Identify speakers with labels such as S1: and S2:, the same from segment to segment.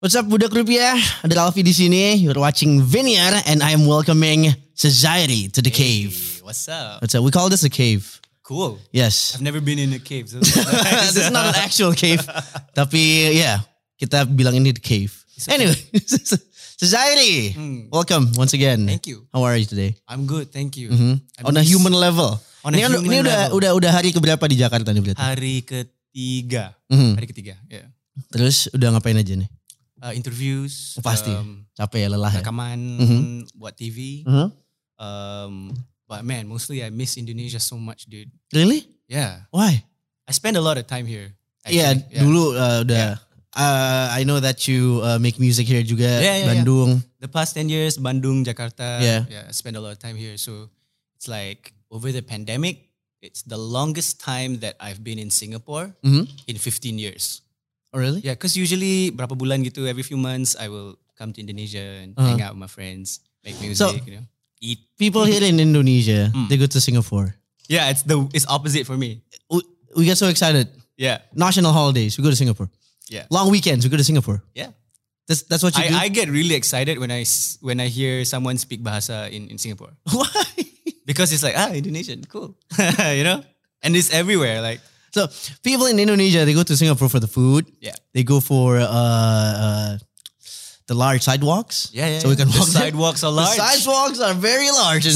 S1: What's up Budak Rupiah? Ada Alfi di sini. You're watching Vineyard and I'm welcoming society to the cave.
S2: Hey, what's up?
S1: What's up? We call this a cave.
S2: Cool.
S1: Yes.
S2: I've never been in a cave. So
S1: this is not an actual cave. Tapi ya, kita bilang ini the cave. Anyway, society. Welcome once again.
S2: Hmm. Thank you.
S1: How are you today?
S2: I'm good, thank you.
S1: Mm-hmm.
S2: I've
S1: On a
S2: been
S1: human level.
S2: On a
S1: ini kan-
S2: human
S1: ini udah
S2: level.
S1: udah udah hari keberapa di Jakarta nih berarti?
S2: Hari ketiga.
S1: Mhm.
S2: Hari ketiga, ya.
S1: Terus udah ngapain aja nih?
S2: Uh,
S1: Oh,
S2: interviews.
S1: Pasti.
S2: um,
S1: Capek ya lelah ya?
S2: rekaman
S1: Mhm.
S2: buat TV.
S1: Mhm.
S2: Um, but man, mostly I miss Indonesia so much, dude.
S1: Really?
S2: Yeah.
S1: Why?
S2: I spend a lot of time here.
S1: Iya,
S2: actually.
S1: dulu uh, udah. Uh, I know that you uh, make music here juga,
S2: Yeah, yeah, yeah.
S1: Bandung.
S2: The past 10 years, Bandung, Jakarta.
S1: Yeah.
S2: Yeah, I spend a lot of time here. So it's like over the pandemic, it's the longest time that I've been in Singapore
S1: Mhm.
S2: in 15 years.
S1: Oh really?
S2: Yeah, because usually berapa bulan gitu, every few months I will come to Indonesia and
S1: Uh-huh.
S2: hang out with my friends, make music,
S1: So-
S2: you know, eat.
S1: People here in Indonesia,
S2: Mm.
S1: they go to Singapore.
S2: Yeah, it's the it's opposite for me.
S1: We, we get so excited.
S2: Yeah,
S1: National holidays, we go to Singapore.
S2: Yeah.
S1: Long weekends, we go to Singapore.
S2: yeah.
S1: That's that's what you do.
S2: I, I get really excited when I s- when I hear someone speak Bahasa in in Singapore
S1: Why?
S2: because it's like ah Indonesian, cool, you know, and it's everywhere. Like
S1: So people in Indonesia, they go to Singapore for the food.
S2: Yeah.
S1: They go for uh, uh the large sidewalks.
S2: yeah, yeah.
S1: So we
S2: yeah.
S1: can
S2: The
S1: walk there.
S2: sidewalks are large.
S1: The sidewalks are very large in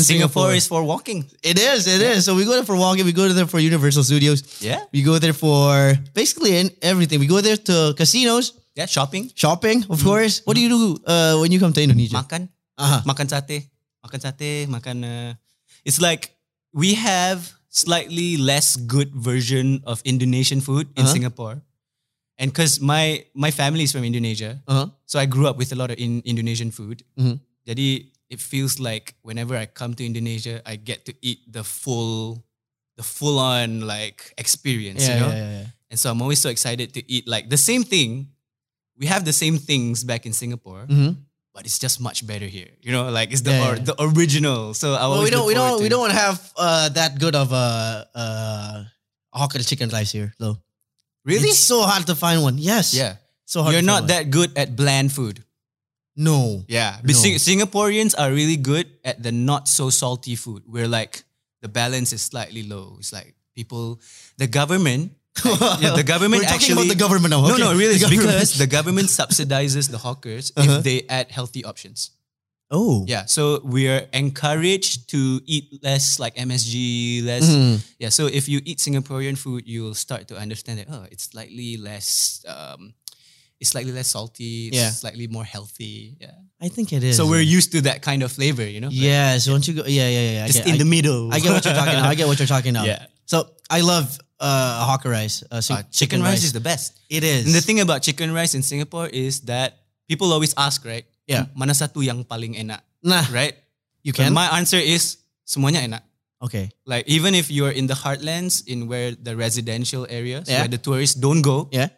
S1: Singapore.
S2: Singapore is for walking.
S1: It is. It is. So we go there for walking. We go there for Universal Studios.
S2: Yeah.
S1: We go there for basically in everything. We go there to casinos,
S2: Yeah, shopping,
S1: shopping,
S2: Mm-hmm.
S1: of course. What do you do uh, when you come to Indonesia?
S2: makan.
S1: Uh-huh.
S2: makan sate, makan sate, makan. Uh, it's like we have slightly less good version of Indonesian food in
S1: Uh-huh.
S2: Singapore, and because my my family is from Indonesia,
S1: Uh-huh.
S2: so I grew up with a lot of in, Indonesian food.
S1: Mhm.
S2: Jadi it feels like whenever I come to Indonesia, I get to eat the full, the full on like experience.
S1: Yeah,
S2: you know,
S1: yeah, yeah, yeah.
S2: and so I'm always so excited to eat like the same thing. We have the same things back in Singapore
S1: Mhm.
S2: but it's just much better here. You know, like it's the
S1: Yeah,
S2: or,
S1: yeah.
S2: the original. So I
S1: Well, we
S2: always
S1: don't. We
S2: look forward
S1: don't.
S2: to
S1: We
S2: it.
S1: don't have uh, that good of a uh, hawker chicken rice here, though.
S2: really.
S1: It's so hard to find one. Yes.
S2: yeah,
S1: So hard.
S2: you're
S1: to
S2: not
S1: find one.
S2: that good at bland food.
S1: No.
S2: Yeah,
S1: No.
S2: but Sing- Singaporeans are really good at the not so salty food. Where like the balance is slightly low. It's like people, the government. yeah, the government
S1: We're talking about
S2: actually
S1: the government now. okay.
S2: No, no, really,
S1: The
S2: it's
S1: government.
S2: because the government subsidizes the hawkers
S1: Uh-huh.
S2: if they add healthy options.
S1: oh.
S2: Yeah, so we are encouraged to eat less like MSG, less
S1: Mhm.
S2: Yeah, so if you eat Singaporean food, you'll start to understand that oh, it's slightly less, um, it's slightly less salty, it's
S1: Yeah.
S2: slightly more healthy. Yeah,
S1: I think it is.
S2: so we're used to that kind of flavor, you know. like,
S1: Yeah, so once you go, yeah, yeah, yeah. I
S2: just
S1: get,
S2: in
S1: I,
S2: the middle.
S1: I get what you're talking. Now. I get what you're talking now.
S2: Yeah.
S1: So I love uh, hawker rice. Uh, si-
S2: Uh, chicken rice is the best.
S1: it is.
S2: And the thing about chicken rice in Singapore is that people always ask, right?
S1: Yeah.
S2: Mana satu yang paling enak,
S1: nah,
S2: right?
S1: you can.
S2: But my answer is semuanya enak.
S1: okay.
S2: Like even if you're in the heartlands, in where the residential areas
S1: Yeah.
S2: where the tourists don't go,
S1: Yeah.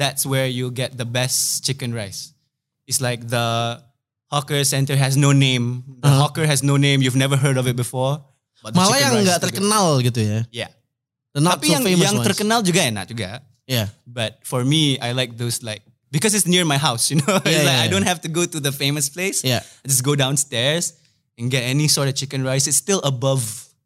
S2: that's where you get the best chicken rice. It's like the hawker center has no name. The
S1: Uh-huh.
S2: hawker has no name. You've never heard of it before. But the
S1: Malah
S2: chicken
S1: yang
S2: rice
S1: nggak
S2: is the good.
S1: terkenal gitu ya.
S2: Yeah.
S1: The not
S2: Tapi
S1: so
S2: yang,
S1: famous
S2: yang
S1: ones.
S2: terkenal juga enak juga.
S1: yeah.
S2: But for me, I like those like because it's near my house. You know, It's
S1: Yeah,
S2: like
S1: yeah, yeah.
S2: I don't have to go to the famous place.
S1: Yeah.
S2: I just go downstairs and get any sort of chicken rice. It's still above.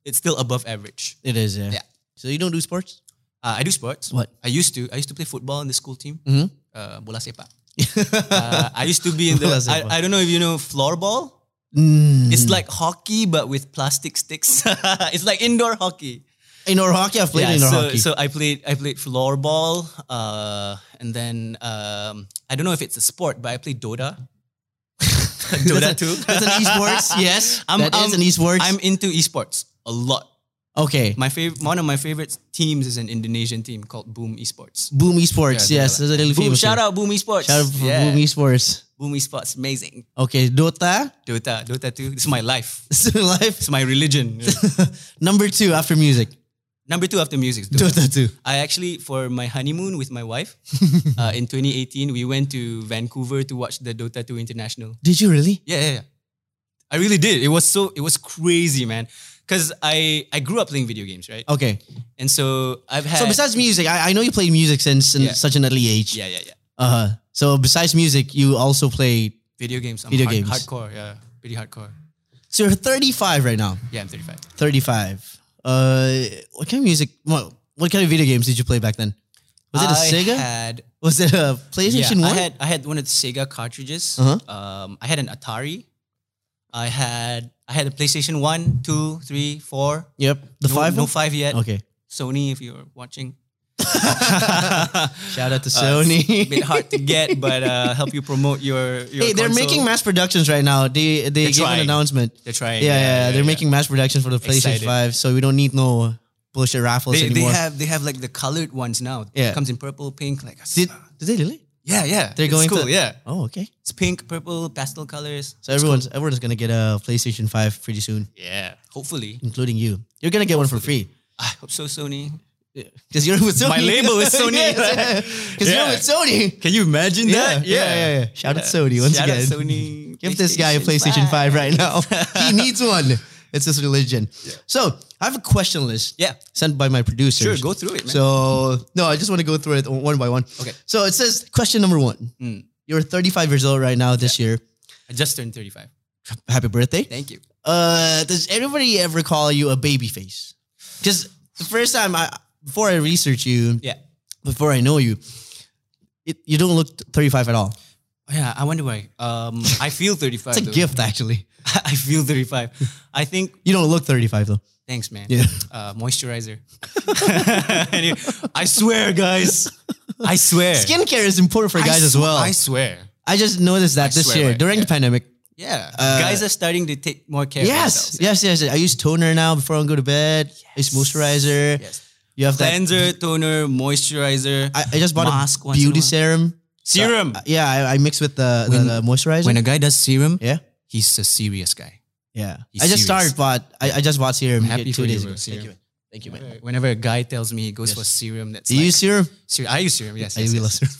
S2: It's still above average.
S1: It is. Yeah.
S2: Yeah.
S1: So you don't do sports?
S2: Uh, I do sports.
S1: What?
S2: I used to. I used to play football in the school team.
S1: Mhm.
S2: Uh, bola sepak. Uh, I used to be in the.
S1: Bola sepak.
S2: I, I don't know if you know floorball.
S1: Mm.
S2: It's like hockey but with plastic sticks. it's like indoor hockey.
S1: indoor hockey. I've played indoor
S2: so,
S1: hockey.
S2: so I played I played floorball. Uh, and then um, I don't know if it's a sport, but I played Dota. Dota too.
S1: That's an esports. Yes. That is an esports.
S2: I'm into esports a lot.
S1: okay.
S2: My favorite, one of my favorite teams is an Indonesian team called Boom Esports.
S1: Boom esports.
S2: Yeah,
S1: yes.
S2: they're
S1: That's a really
S2: Boom,
S1: famous
S2: shout
S1: one.
S2: out Boom Esports.
S1: Shout out for
S2: Yeah.
S1: Boom esports.
S2: Boom Esports, amazing.
S1: Okay. Dota.
S2: Dota, Dota 2. It's my life.
S1: Life.
S2: It's my religion.
S1: Number two after music.
S2: Number two after music. is Dota.
S1: Dota two.
S2: I actually, for my honeymoon with my wife uh, in 2018, we went to Vancouver to watch the Dota 2 International.
S1: Did you really?
S2: Yeah, yeah, yeah. I really did. It was so, it was crazy, man. Because I, I grew up playing video games, right?
S1: Okay.
S2: And so I've had.
S1: So besides music, I, I know you played music since an-
S2: Yeah.
S1: such an early age.
S2: Yeah, yeah, yeah.
S1: Uh-huh. So besides music, you also play.
S2: Video games. I'm
S1: Video
S2: hard-
S1: games.
S2: Hardcore. Yeah. Pretty hardcore.
S1: So you're 35 right now.
S2: Yeah, I'm 35.
S1: 35. Uh, what kind of music? What, what kind of video games did you play back then? Was it a
S2: I
S1: Sega?
S2: Had,
S1: was it a PlayStation
S2: yeah, I
S1: One?
S2: had I had one of the Sega cartridges.
S1: Uh-huh.
S2: Um, I had an Atari. I had I had a PlayStation 1, 2, 3, 4.
S1: yep, the
S2: no,
S1: five.
S2: No
S1: one?
S2: five yet.
S1: Okay.
S2: Sony, if you're watching.
S1: Shout out to
S2: Uh,
S1: Sony.
S2: it's a bit hard to get, but uh, help you promote your. your
S1: hey, they're
S2: console.
S1: making mass productions right now. They they
S2: They're
S1: gave
S2: trying.
S1: an announcement.
S2: They're trying.
S1: Yeah, yeah, they're making mass productions for the PlayStation
S2: Excited.
S1: Five, so we don't need no bullshit raffles
S2: They, they
S1: anymore.
S2: have they have like the colored ones now.
S1: Yeah.
S2: comes in purple, pink. Like uh,
S1: did, did they really?
S2: yeah, yeah.
S1: They're
S2: it's
S1: going
S2: cool.
S1: to-
S2: yeah.
S1: Oh, okay.
S2: It's pink, purple, pastel colors.
S1: So everyone's everyone's gonna get a PlayStation Five pretty soon,
S2: Yeah, hopefully.
S1: including you. You're gonna get one for free
S2: I hope so, Sony.
S1: because you're with Sony.
S2: My label is Sony, right?
S1: Because
S2: Yeah.
S1: you're with Sony.
S2: Can you imagine
S1: Yeah, yeah, yeah. yeah. Shout out Sony once
S2: Shout
S1: again.
S2: Out Sony.
S1: Give this guy a PlayStation 5, right now. he needs one. It's his religion. So I have a question list
S2: Yeah,
S1: sent by my producer.
S2: sure. Go through it, man.
S1: So no, I just want to go through it one by one.
S2: Okay.
S1: So it says question number one.
S2: Mm.
S1: You're 35 years old right now this year.
S2: I just turned thirty-five.
S1: Happy birthday.
S2: Thank you.
S1: Uh, does anybody ever call you a baby face? Because the first time I before I research you,
S2: Yeah.
S1: before I know you, it, you don't look 35 at all.
S2: Yeah, I wonder why. Um, I feel thirty-five.
S1: It's a
S2: though.
S1: gift actually.
S2: I feel thirty-five. I think
S1: You don't look 35 though.
S2: Thanks, man.
S1: Yeah.
S2: Uh, moisturizer. Anyway, I swear, guys. I swear.
S1: Skincare is important for
S2: I
S1: guys as
S2: sw-
S1: well.
S2: I
S1: I,
S2: swear.
S1: just noticed that this
S2: swear
S1: year
S2: by it,
S1: during the pandemic.
S2: Yeah.
S1: Uh,
S2: guys are starting to take more care
S1: Yes,
S2: of themselves.
S1: yes, yes, I use toner now before I go to bed. I use moisturizer.
S2: Yes.
S1: You have that.
S2: Cleanser, toner, moisturizer,
S1: I, I just bought
S2: Mask
S1: a
S2: once in a
S1: beauty
S2: while.
S1: serum.
S2: serum.
S1: Uh, yeah, I, I mix with the, the,
S2: When-
S1: the moisturizer.
S2: when a guy does serum,
S1: yeah,
S2: he's a serious guy.
S1: yeah.
S2: He's
S1: I just
S2: serious.
S1: started, but I, I just bought serum
S2: happy
S1: two
S2: for you,
S1: days
S2: bro,
S1: ago. Thank
S2: serum.
S1: you, man. Thank you, man.
S2: Whenever a guy tells me he goes for serum, that's
S1: Do you
S2: like,
S1: use serum?
S2: ser- I use serum. Yes,
S1: I
S2: yes,
S1: really
S2: yes.
S1: love serum.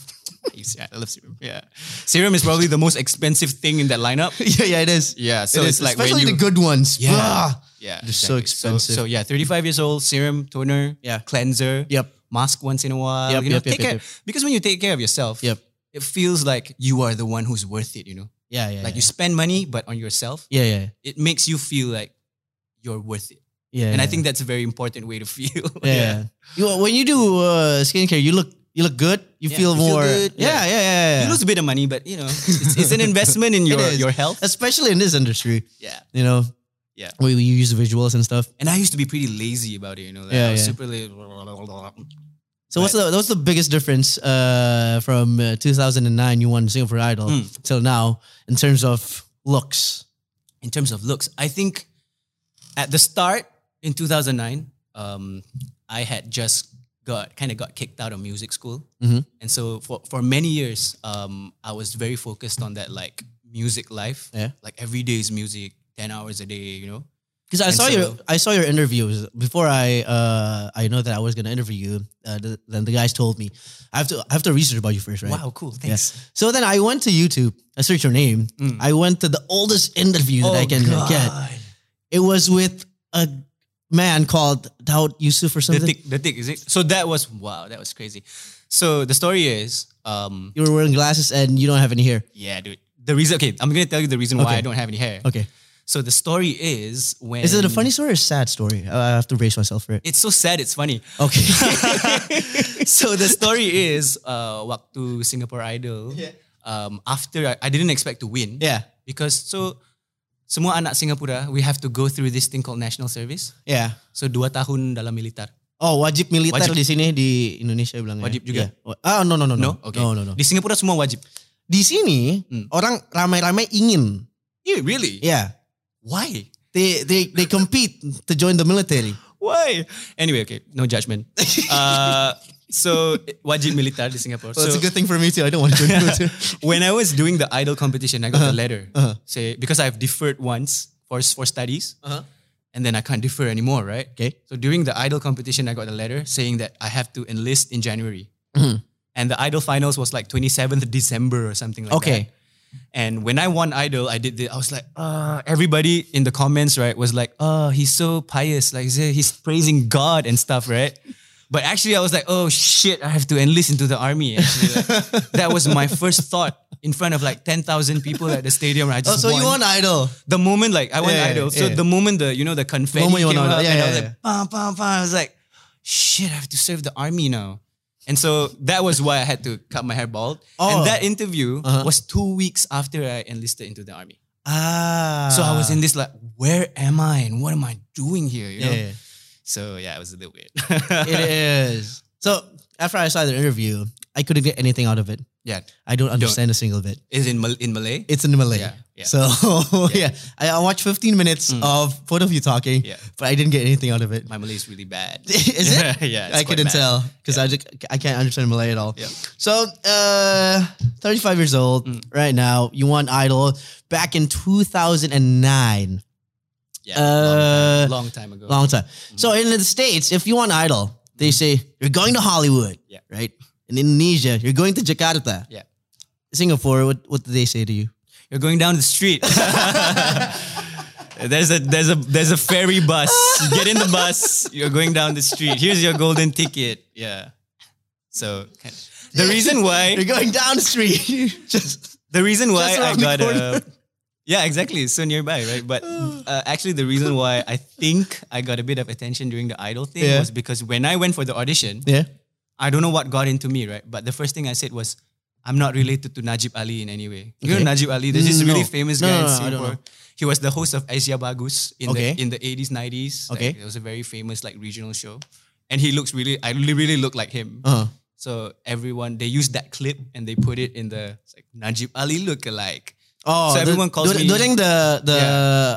S2: I use- yeah, I love serum. Yeah, serum is probably the most expensive thing in that lineup.
S1: yeah, yeah, it is.
S2: Yeah, so
S1: It
S2: it's
S1: is,
S2: like when
S1: especially
S2: you-
S1: the good ones.
S2: Yeah.
S1: Ah.
S2: Yeah,
S1: They're so expensive.
S2: So, yeah, 35 years old, serum, toner,
S1: Yeah.
S2: cleanser,
S1: Yep.
S2: mask once in a while.
S1: Yep,
S2: you know,
S1: yep, yep,
S2: take
S1: yep,
S2: care
S1: yep.
S2: because when you take care of yourself,
S1: Yep.
S2: it feels like you are the one who's worth it. You know,
S1: Yeah, yeah.
S2: like
S1: yeah.
S2: you spend money, but on yourself,
S1: Yeah, yeah,
S2: it makes you feel like you're worth it.
S1: yeah.
S2: And I
S1: yeah.
S2: think that's a very important way to feel.
S1: yeah. You, when you do uh, skincare, you look you look good. You
S2: Yeah,
S1: feel
S2: you feel
S1: more.
S2: good,
S1: yeah, yeah, yeah. yeah,
S2: You lose a bit of money, but you know, it's, it's an investment in your,
S1: is.
S2: your health.
S1: especially in this industry.
S2: yeah.
S1: You know.
S2: Yeah.
S1: Where you use visuals and stuff.
S2: And I used to be pretty lazy about it, you know, like
S1: Yeah,
S2: I was
S1: yeah.
S2: super lazy.
S1: So what's the what's the biggest difference uh, from uh, 2009 you won Singapore Idol
S2: Hmm.
S1: till now in terms of looks?
S2: in terms of looks, I think at the start in 2009, um, I had just got kind of got kicked out of music school,
S1: Mhm.
S2: and so for for many years, um, I was very focused on that like music life.
S1: Yeah.
S2: like every day is music, ten hours a day. You know,
S1: Because I
S2: And
S1: saw
S2: so-
S1: your I saw your interviews before I uh, I know that I was gonna interview you. Uh, th- then the guys told me I have to I have to research about you first, right?
S2: wow, cool, thanks.
S1: So then I went to YouTube. I searched your name.
S2: Mm.
S1: I went to the oldest interview that I can get.
S2: Oh, God.
S1: It was with a man called Daud Yusuf or
S2: The
S1: something.
S2: tick, the tick, is it? So that was wow, that was crazy. So the story is, um,
S1: You were wearing glasses and you don't have any hair.
S2: yeah, dude. The reason, okay, I'm gonna tell you the reason why
S1: Okay.
S2: I don't have any hair.
S1: Okay.
S2: So the story is when
S1: Is it a funny story or a sad story? Uh, I I have to brace myself for it.
S2: It's so sad. It's funny.
S1: Okay.
S2: so the story is uh, waktu Singapore Idol. Um, after I, I didn't expect to win.
S1: yeah.
S2: Because so semua anak Singapura we have to go through this thing called national service.
S1: Yeah.
S2: So dua tahun dalam militer.
S1: Oh, wajib militer
S2: Wajib.
S1: di sini di Indonesia bilangnya.
S2: Wajib juga?
S1: Yeah. Ah, no no no no.
S2: Okay.
S1: No no no.
S2: Di Singapura semua wajib.
S1: Di sini
S2: Hmm.
S1: orang ramai-ramai ingin.
S2: Yeah, Eh, really?
S1: Yeah.
S2: Why?
S1: They they they compete to join the military.
S2: Why? Anyway, okay, no judgment. uh, so wajib militer di Singapore.
S1: Well,
S2: so,
S1: it's a good thing for me too. I don't want to join the military.
S2: when I was doing the idol competition, I got a letter
S1: uh-huh.
S2: say because I've deferred once for for studies,
S1: Uh-huh.
S2: and then I can't defer anymore, right?
S1: Okay.
S2: So during the idol competition, I got a letter saying that I have to enlist in January,
S1: Mm-hmm.
S2: and the idol finals was like twenty seventh December or something like that.
S1: Okay.
S2: And when I won idol, I did this. I was like, uh, everybody in "Uh, the comments right was like, oh, he's so pious, like he's he's praising God and stuff, right? But actually, I was like, oh shit, I have to enlist into the army. Actually, like, that was my first thought in front of like ten thousand people at the stadium. I
S1: Oh,
S2: just
S1: so
S2: won.
S1: you want idol?
S2: the moment like I went
S1: Yeah,
S2: idol. So
S1: yeah.
S2: the moment the you know the confetti
S1: Moment you
S2: came
S1: went idol.
S2: up,
S1: Yeah,
S2: and I
S1: yeah,
S2: was like, bah, bah, bah. I was like, shit, I have to serve the army now. And so that was why I had to cut my hair bald.
S1: Oh.
S2: And that interview
S1: Uh-huh.
S2: was two weeks after I enlisted into the army.
S1: Ah.
S2: So I was in this like, where am I and what am I doing here? You know?
S1: Yeah.
S2: So yeah, it was a little weird.
S1: it is. So after I saw the interview, I couldn't get anything out of it.
S2: yeah,
S1: I don't understand a single bit.
S2: is in Mal- in Malay.
S1: It's in Malay.
S2: Yeah, yeah. Hmm.
S1: So yeah, I, I watched 15 minutes of both of you talking,
S2: Yeah.
S1: but I didn't get anything out of it.
S2: My Malay is really bad.
S1: Is it?
S2: yeah,
S1: I
S2: it's quite
S1: couldn't
S2: bad.
S1: tell because I just, I can't understand Malay at all.
S2: Yeah. Mm.
S1: So, uh, 35 years old right now. You won Idol back in 2009.
S2: Yeah,
S1: Uh,
S2: long, time, long time ago.
S1: Long time. So in the States, if you want Idol, they say you're going to Hollywood,
S2: Yeah.
S1: right? In Indonesia, you're going to Jakarta.
S2: Yeah.
S1: Singapore, what, what do they say to you?
S2: You're going down the street. there's a there's a there's a ferry bus. Get in the bus. You're going down the street. Here's your golden ticket. Yeah. So the reason why
S1: You're going down the street. Just
S2: the reason why
S1: Just
S2: I
S1: around the
S2: got
S1: corner.
S2: a yeah exactly it's so nearby right but uh, actually the reason why I think I got a bit of attention during the idol thing
S1: Yeah.
S2: was because when I went for the audition
S1: yeah.
S2: I don't know what got into me right but the first thing I said was I'm not related to Najib Ali in any way you know
S1: Okay.
S2: Najib Ali there's this
S1: No.
S2: really famous
S1: No,
S2: guy
S1: no,
S2: in
S1: no, I don't
S2: Singapore he was the host of Asia Bagus in
S1: Okay.
S2: the in the 80s 90s Like,
S1: Okay.
S2: it was a very famous like regional show and he looks really I really really look like him
S1: Uh-huh.
S2: so everyone they used that clip and they put it in the it's like Najib Ali lookalike.
S1: Oh,
S2: So
S1: the-
S2: everyone calls
S1: dur-
S2: me-
S1: during the the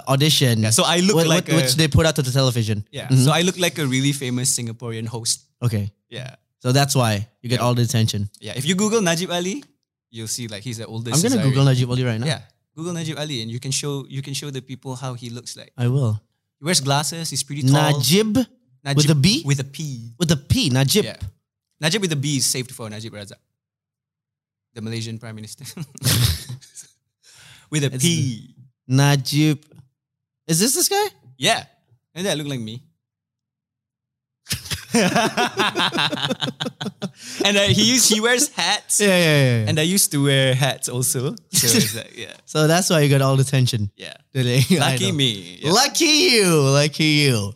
S1: audition.
S2: So I look
S1: what-
S2: like
S1: what-
S2: a,
S1: which they put out to the television.
S2: yeah.
S1: Mhm.
S2: So I look like a really famous Singaporean host.
S1: Okay.
S2: Yeah,
S1: So that's why you get
S2: Yeah.
S1: all the attention.
S2: yeah. If you Google Najib Ali, you'll see like he's the oldest.
S1: I'm gonna
S2: Zahiri.
S1: Google Najib Ali right now.
S2: Yeah, Google Najib Ali, and you can show you can show the people how he looks like.
S1: I will.
S2: He wears glasses. He's pretty tall.
S1: Najib with
S2: Najib
S1: a B?
S2: With a P.
S1: with a P. Najib.
S2: Yeah. Najib with a B is saved for Najib Razak, the Malaysian Prime Minister. with a P.
S1: It's- Najib. Is this this guy?
S2: Yeah. And that look like me. and uh, he used, he wears hats.
S1: yeah, yeah.
S2: And I used to wear hats also. So it's like, yeah.
S1: so that's why you got all the attention
S2: Yeah.
S1: today. I
S2: Lucky
S1: know.
S2: me. Yeah.
S1: Lucky you. Lucky you.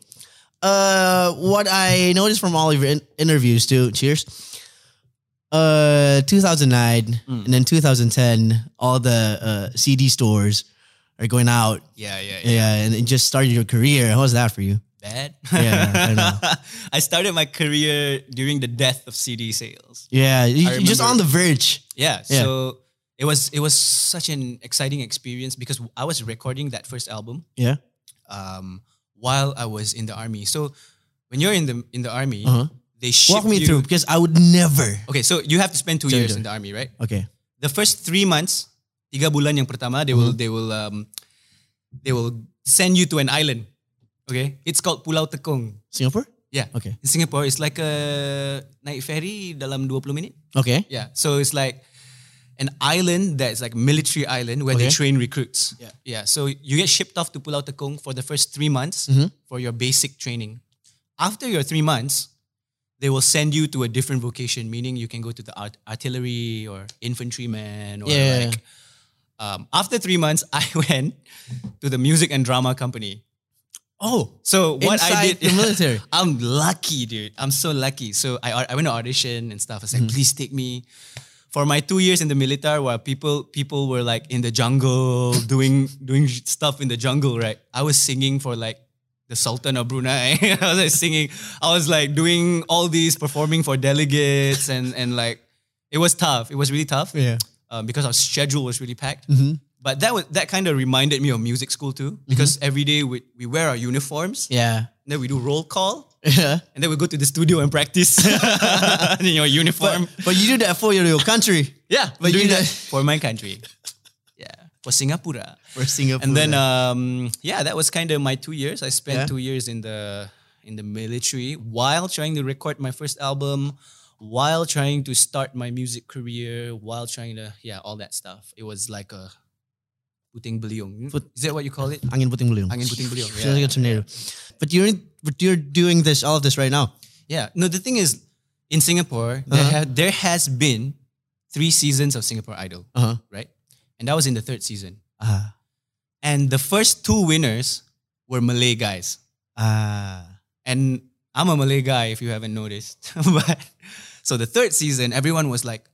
S1: Uh, what I noticed from all of your in- interviews too. Cheers. Uh, 2009
S2: Mm.
S1: and then 2010, all the uh, CD stores are going out.
S2: yeah, yeah, yeah.
S1: Yeah, and it just started your career. How was that for you?
S2: Bad.
S1: Yeah, I know.
S2: I started my career during the death of CD sales.
S1: Yeah, you,
S2: I
S1: you're just on
S2: remember.
S1: the verge.
S2: Yeah.
S1: Yeah.
S2: So it was it was such an exciting experience because I was recording that first album
S1: Yeah.
S2: um, while I was in the army. So when you're in the in the army,
S1: Uh-huh.
S2: they ship
S1: Walk me
S2: you-
S1: through because I would never.
S2: Okay, so you have to spend two
S1: Sorry,
S2: years
S1: sorry.
S2: in the army, right?
S1: Okay.
S2: The first three months, tiga bulan yang pertama, they
S1: Uh-huh.
S2: will they will um, they will send you to an island. Okay, it's called Pulau Tekong.
S1: Singapore?
S2: Yeah,
S1: Okay.
S2: in Singapore, it's like a night ferry dalam 20 minit.
S1: Okay.
S2: Yeah, so it's like an island that's like military island where they
S1: Okay.
S2: train recruits.
S1: Yeah.
S2: yeah. So you get shipped off to Pulau Tekong for the first three months
S1: Mm-hmm.
S2: for your basic training. After your three months, they will send you to a different vocation, meaning you can go to the art- artillery or infantryman or
S1: Yeah.
S2: like. Um, after three months, I went to the music and drama company.
S1: Oh,
S2: So what I
S1: Inside
S2: did,
S1: the military.
S2: I'm lucky, dude. I'm so lucky. So I, I went to audition and stuff. I was like,
S1: Mm-hmm.
S2: please take me. For my two years in the military, where people people were like in the jungle doing doing stuff in the jungle, right? I was singing for like the Sultan of Brunei. I was like singing. I was like doing all these performing for delegates and and like it was tough. It was really tough
S1: yeah. Mm-hmm.
S2: um, because our schedule was really packed. But that was that kind of reminded me of music school too, because every day we, we wear our uniforms,
S1: Yeah.
S2: and then we do roll call,
S1: Yeah.
S2: and then we go to the studio and practice in your uniform.
S1: But, but you do that for your, your country.
S2: yeah,
S1: but
S2: doing
S1: you
S2: that
S1: know-
S2: for my country. Yeah, for Singapore.
S1: For Singapore.
S2: And then um, yeah, that was kind of my two years. I spent
S1: Yeah.
S2: two years in the in the military while trying to record my first album, while trying to start my music career, while trying to yeah, all that stuff. It was like a puting beliung. Is that what you call it?
S1: angin puting beliung.
S2: Angin puting beliung,
S1: Feels like a tornado. But you're but you're doing this all of this right now.
S2: Yeah. No, the thing is, in Singapore, there,
S1: Uh-huh.
S2: ha- there has been three seasons of Singapore Idol,
S1: Uh-huh.
S2: right? And that was in the third season.
S1: Ah.
S2: And the first two winners were Malay guys.
S1: Ah.
S2: And I'm a Malay guy, if you haven't noticed. but so the third season, everyone was like,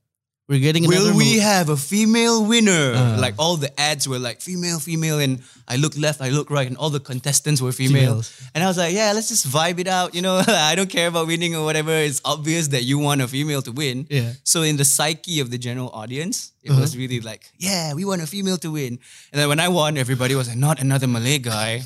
S1: We're getting another
S2: Will we
S1: mo-
S2: have a female winner?
S1: Uh.
S2: like all the ads were like female, female, and I look left, I look right, and all the contestants were female.
S1: Females.
S2: And I was like, yeah, let's just vibe it out. You know, I don't care about winning or whatever. It's obvious that you want a female to win.
S1: Yeah.
S2: So in the psyche of the general audience, it
S1: Uh-huh.
S2: was really like, yeah, we want a female to win. And then when I won, everybody was like, not another Malay guy.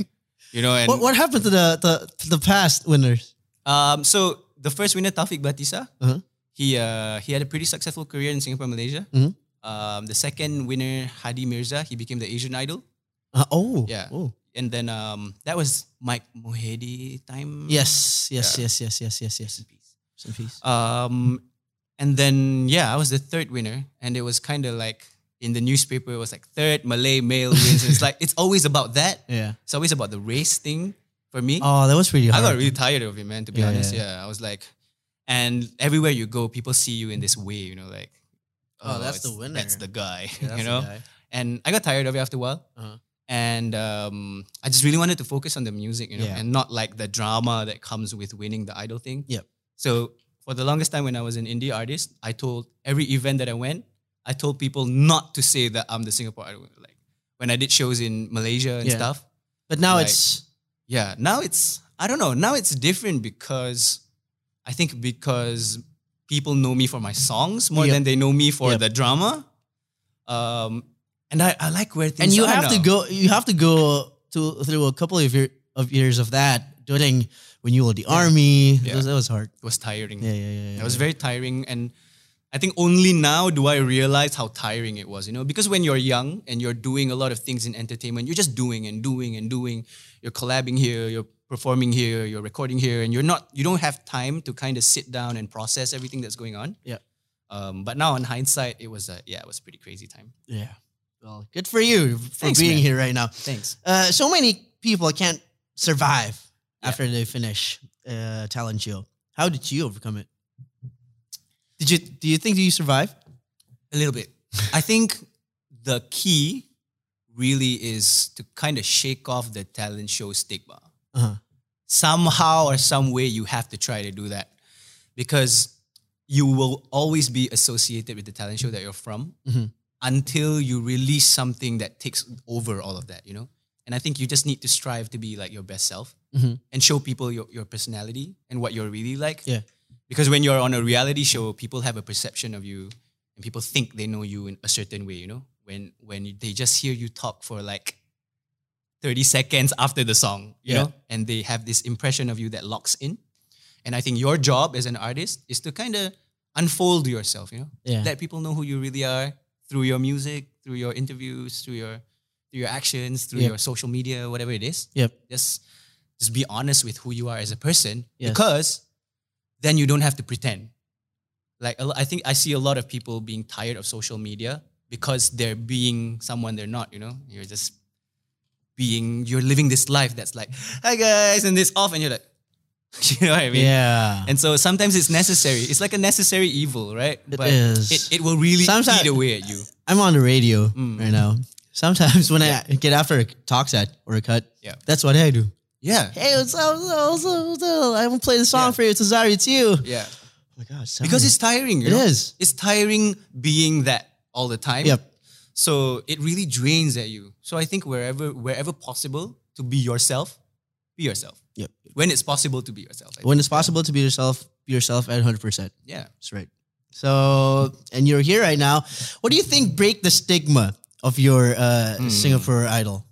S2: You know, and
S1: What, what happened to the, the to the past winners?
S2: um, so the first winner, Taufik Batisa,
S1: Uh-huh.
S2: he uh, he had a pretty successful career in Singapore, Malaysia.
S1: Mhm.
S2: Um, the second winner, Hadi Mirza, he became the Asian Idol,
S1: Uh, oh.
S2: Yeah.
S1: Oh.
S2: and then um, that was Mike Mohedi time.
S1: Yes. Yes.
S2: Mm. Yeah.
S1: Yes. Yes. Yes. Yes. Yes. Rest in peace.
S2: Um, and then yeah, I was the third winner, and it was kind of like in the newspaper, it was like third Malay male wins. it's like it's always about that.
S1: Yeah.
S2: It's always about the race thing for me.
S1: Oh, that was pretty
S2: I
S1: hard.
S2: got really tired of it, man. To be
S1: Yeah,
S2: honest,
S1: yeah,
S2: yeah. I was like, and everywhere you go, people see you in this way, you know, like,
S1: Oh, that's the
S2: it's-
S1: winner.
S2: That's the guy,
S1: Yeah, that's the
S2: you know.
S1: guy.
S2: And I got tired of it after a while,
S1: Uh-huh.
S2: and um, I just really wanted to focus on the music, you know,
S1: Yeah.
S2: and not like the drama that comes with winning the idol thing.
S1: Yep.
S2: So for the longest time, when I was an indie artist, I told every event that I went, I told people not to say that I'm the Singapore idol. winner. Like when I did shows in Malaysia and
S1: Yeah.
S2: stuff,
S1: But now
S2: Like-
S1: it's
S2: yeah, now it's I don't know. Now it's different because I think because people know me for my songs more
S1: Yep.
S2: than they know me for
S1: Yep.
S2: the drama. Um, and I, I like where things
S1: and you
S2: are
S1: have to
S2: now.
S1: go you have to go to through a couple of your of years of that during when you were the army. That,
S2: Yeah.
S1: was, that was hard.
S2: It was tiring.
S1: Yeah. Yeah. Yeah. yeah.
S2: It was very tiring and I think only now do I realize how tiring it was, you know, because when you're young and you're doing a lot of things in entertainment, you're just doing and doing and doing. You're collabing here, you're performing here, you're recording here, and you're not you don't have time to kind of sit down and process everything that's going on.
S1: Yeah.
S2: Um, but now in hindsight, it was a yeah, it was a pretty crazy time.
S1: yeah. Well, good for you for
S2: Thanks,
S1: being
S2: man.
S1: here right now.
S2: Thanks.
S1: Uh, so many people can't survive
S2: Yeah.
S1: after they finish uh, talent show. How did you overcome it? Did you do you think you survived?
S2: A little bit. I think the key really is to kind of shake off the talent show stigma.
S1: Uh-huh.
S2: somehow or some way you have to try to do that because you will always be associated with the talent show that you're from
S1: Mhm.
S2: until you release something that takes over all of that you know and i think you just need to strive to be like your best self
S1: Mhm.
S2: and show people your, your personality and what you're really like
S1: Yeah.
S2: because when you're on a reality show people have a perception of you and people think they know you in a certain way you know when when you- they just hear you talk for like 30 seconds after the song, you
S1: Yeah.
S2: know, and they have this impression of you that locks in. And I think your job as an artist is to kind of unfold yourself, you know,
S1: Yeah.
S2: let people know who you really are through your music, through your interviews, through your through your actions, through
S1: Yeah.
S2: your social media, whatever it is.
S1: yep.
S2: Just just be honest with who you are as a person,
S1: Yes.
S2: because then you don't have to pretend. Like a lo- I think I see a lot of people being tired of social media because they're being someone they're not. You know, you're just being you're living this life that's like, hi guys, and this off, and you're like, you know what I mean?
S1: yeah.
S2: And so sometimes it's necessary. It's like a necessary evil, right?
S1: It
S2: but
S1: is.
S2: It, it will really
S1: Sometimes-
S2: eat away at you.
S1: I'm on the radio
S2: Mm.
S1: right now. Sometimes when I get after a talk set or a cut,
S2: Yeah.
S1: that's what I do.
S2: Yeah.
S1: Hey, what's up? What's up? What's up? What's up? I haven't played the song
S2: Yeah.
S1: for you. It's sorry, it's you.
S2: Yeah.
S1: Oh my gosh.
S2: Because it's tiring. You
S1: It
S2: know?
S1: is.
S2: It's tiring being that all the time.
S1: Yep.
S2: So it really drains at you. So I think wherever wherever possible to be yourself, be yourself.
S1: Yep.
S2: When it's possible to be yourself. I think.
S1: When it's possible to be yourself, be yourself at 100%.
S2: yeah.
S1: That's right. So, and you're here right now. What do you think break the stigma of your uh,
S2: Mm.
S1: Singapore Idol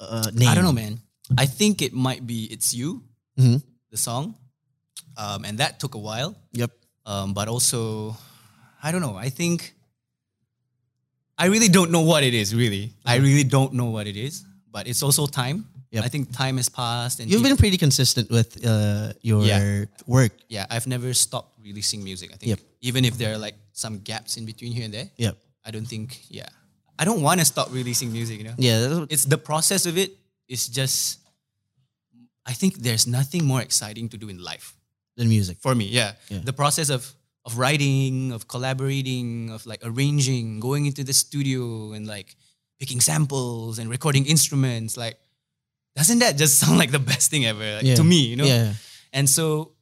S1: uh, name?
S2: I don't know, man. I think it might be It's You,
S1: Mhm.
S2: the song. Um, and that took a while.
S1: Yep.
S2: um, but also I don't know. I think I really don't know what it is. Really, I really don't know what it is. But it's also time.
S1: Mm-hmm. Yep.
S2: I think time has passed, and
S1: You've
S2: peop-
S1: been pretty consistent with uh, your
S2: Yeah.
S1: work.
S2: yeah, I've never stopped releasing music. I think
S1: Yep.
S2: even if there are like some gaps in between here and there,
S1: Yep.
S2: I don't think yeah, I don't want to stop releasing music. You know,
S1: Yeah. that's what-
S2: it's the process of it. It's just I think there's nothing more exciting to do in life
S1: than music.
S2: for me. Yeah.
S1: Yeah.
S2: The process of of writing, of collaborating, of like arranging, going into the studio and like picking samples and recording instruments, like doesn't that just sound like the best thing ever like,
S1: Yeah.
S2: to me, you know?
S1: Yeah.
S2: And so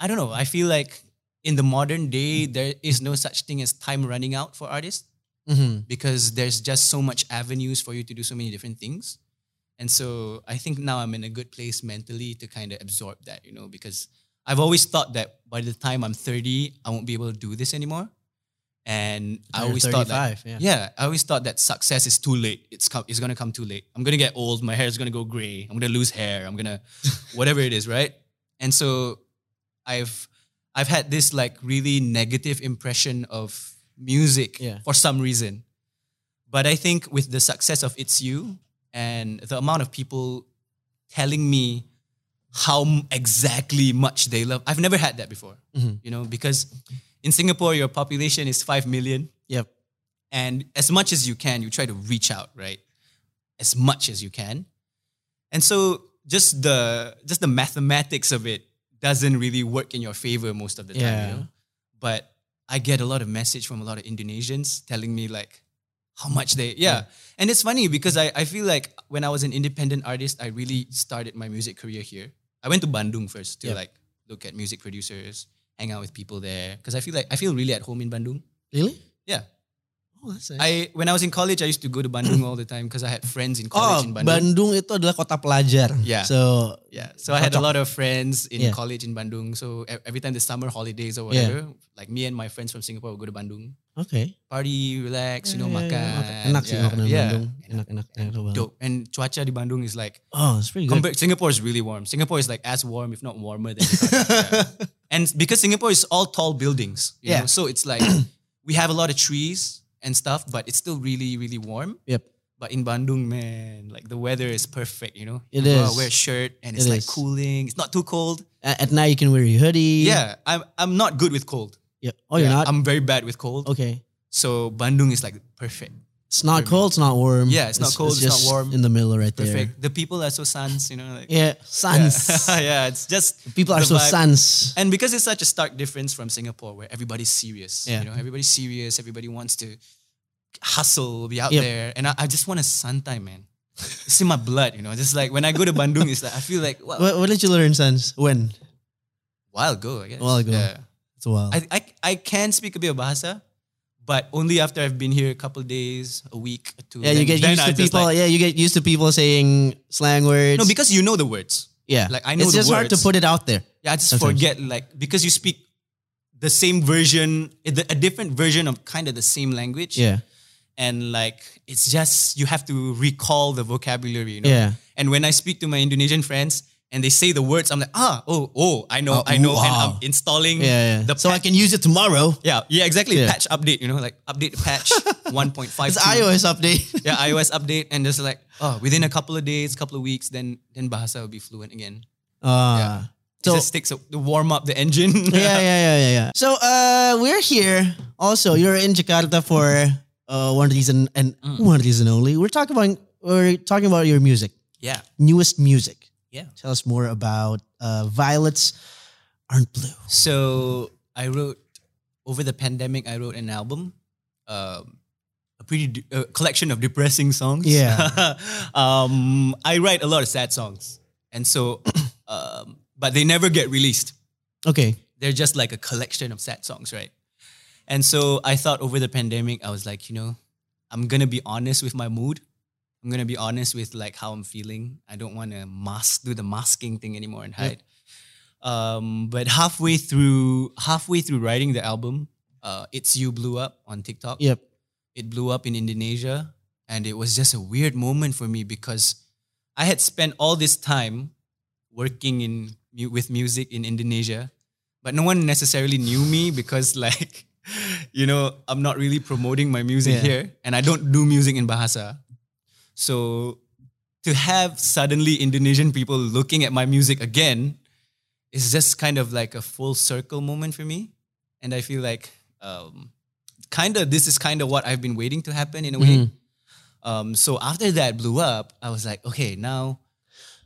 S2: I don't know, I feel like in the modern day there is no such thing as time running out for artists
S1: hmm
S2: because there's just so much avenues for you to do so many different things. And so I think now I'm in a good place mentally to kind of absorb that, you know, because I've always thought that by the time I'm 30, I won't be able to do this anymore. And I
S1: You're
S2: always thought that,
S1: 35, yeah.
S2: I always thought that success is too late. It's com- it's gonna come too late. I'm gonna get old. My hair is gonna go gray. I'm gonna lose hair. I'm gonna, whatever it is, right? And so, I've I've had this like really negative impression of music
S1: Yeah.
S2: for some reason. But I think with the success of It's You and the amount of people telling me how m- exactly much they love, I've never had that before.
S1: Mm-hmm.
S2: You know, because in Singapore, your population is 5 million.
S1: Yep.
S2: And as much as you can, you try to reach out, right? As much as you can. And so just the just the mathematics of it doesn't really work in your favor most of the time,
S1: Yeah.
S2: you know? But I get a lot of message from a lot of Indonesians telling me like how much they yeah. And it's funny because I, I feel like when I was an independent artist, I really started my music career here. I went to Bandung first to
S1: Yeah.
S2: like look at music producers, hang out with people there. Cause I feel like I feel really at home in Bandung.
S1: Really?
S2: Yeah.
S1: Oh, that's nice.
S2: I when I was in college, I used to go to Bandung all the time because I had friends in
S1: Oh,
S2: college in Bandung.
S1: Bandung itu adalah kota pelajar.
S2: Yeah.
S1: So
S2: Yeah, so I had a lot of friends
S1: Yeah.
S2: in college in Bandung. So e- every time the summer holidays or whatever, like me and my friends from Singapore would go to Bandung,
S1: okay.
S2: party, relax, you know,
S1: Yeah, yeah,
S2: makan.
S1: yeah. Enak sih
S2: yeah.
S1: makanan
S2: yeah.
S1: Bandung. Enak enak enak banget.
S2: Dope. And cuaca di Bandung is like
S1: Oh, it's pretty good.
S2: compared, Singapore is really warm. Singapore is like as warm, if not warmer than. Jakarta. Yeah. And because Singapore is all tall buildings, you
S1: Yeah.
S2: know, so it's like we have a lot of trees and stuff, but it's still really really warm.
S1: Yep.
S2: But in Bandung, man, like the weather is perfect, you know?
S1: It
S2: you go out,
S1: is.
S2: wear a shirt and it's
S1: It
S2: like
S1: is.
S2: cooling. It's not too cold.
S1: A- At night you can wear your hoodie.
S2: Yeah, I'm, I'm not good with cold.
S1: Yeah. Oh, you're
S2: Yeah,
S1: not.
S2: I'm very bad with cold.
S1: okay.
S2: So Bandung is like perfect.
S1: It's not cold. It's not warm.
S2: Yeah, it's not cold, it's not
S1: just
S2: warm.
S1: In the middle, right
S2: Perfect. The people are so sans, you know? Like,
S1: there. Yeah. Sans.
S2: Yeah. yeah, it's just.
S1: People are
S2: the
S1: so
S2: vibe.
S1: sans.
S2: And because it's such a stark difference from Singapore where everybody's serious,
S1: Yeah.
S2: you know, everybody's serious, everybody wants to hustle, be out
S1: Yep.
S2: there. And I, I just want a sun time, man. It's in my blood, you know? Just like when I go to Bandung, it's like I feel like, wow,
S1: What, what did you learn sans? When?
S2: while ago, I guess.
S1: While ago.
S2: Yeah.
S1: It's a while.
S2: I, I, I can speak a bit of Bahasa, but only after I've been here a couple days, a week, two.
S1: yeah, you
S2: Then-
S1: get
S2: then
S1: used
S2: I
S1: to
S2: just
S1: people.
S2: like-
S1: yeah, you get used to people saying slang words.
S2: no, because you know the words.
S1: yeah,
S2: like, I know
S1: it's
S2: the
S1: just hard to
S2: words.
S1: put it out there.
S2: Yeah, I just
S1: Sometimes.
S2: forget like because you speak the same version, a a different version of kind of the same language.
S1: Yeah,
S2: and like it's just you have to recall the vocabulary. You know?
S1: Yeah.
S2: And when I speak to my Indonesian friends and they say the words, I'm like, ah, oh, oh, I
S1: Oh,
S2: know, I know, and I'm
S1: wow.
S2: installing
S1: yeah, yeah.
S2: the
S1: so I
S2: patch-
S1: can use it tomorrow.
S2: Yeah, yeah, exactly.
S1: Yeah.
S2: Patch update, you know, like update the patch 1.5.
S1: It's iOS update.
S2: yeah, iOS update, and just like oh, within a couple of days, couple of weeks, then then Bahasa will be fluent again.
S1: Uh, So-
S2: So, it just takes a, to warm up the engine.
S1: yeah, yeah, yeah, yeah, yeah. So uh, we're here. Also, you're in Jakarta for uh, one reason and
S2: Mm.
S1: one reason only. We're talking about we're talking about your music,
S2: yeah,
S1: newest music.
S2: yeah.
S1: Tell us more about uh, Violets Aren't Blue.
S2: So I wrote over the pandemic. I wrote an album, um, a pretty de- a collection of depressing songs.
S1: Yeah.
S2: um, I write a lot of sad songs, and so, um, but they never get released.
S1: Okay.
S2: they're just like a collection of sad songs, right? And so I thought over the pandemic, I was like, you know, I'm gonna be honest with my mood. I'm gonna be honest with like how I'm feeling. I don't want to mask, do the masking thing anymore and hide. Um, but halfway through, halfway through writing the album, uh, "It's You" blew up on TikTok
S1: Yep.
S2: it blew up in Indonesia. And it was just a weird moment for me because I had spent all this time working in mu- with music in Indonesia, but no one necessarily knew me because like, you know, I'm not really promoting my music
S1: Yeah.
S2: here and I don't do music in Bahasa. So to have suddenly Indonesian people looking at my music again is just kind of like a full circle moment for me. And I feel like um, kind of this is kind of what I've been waiting
S1: Mm-hmm.
S2: to happen in a way. Um, so after that blew up, I was like, okay, now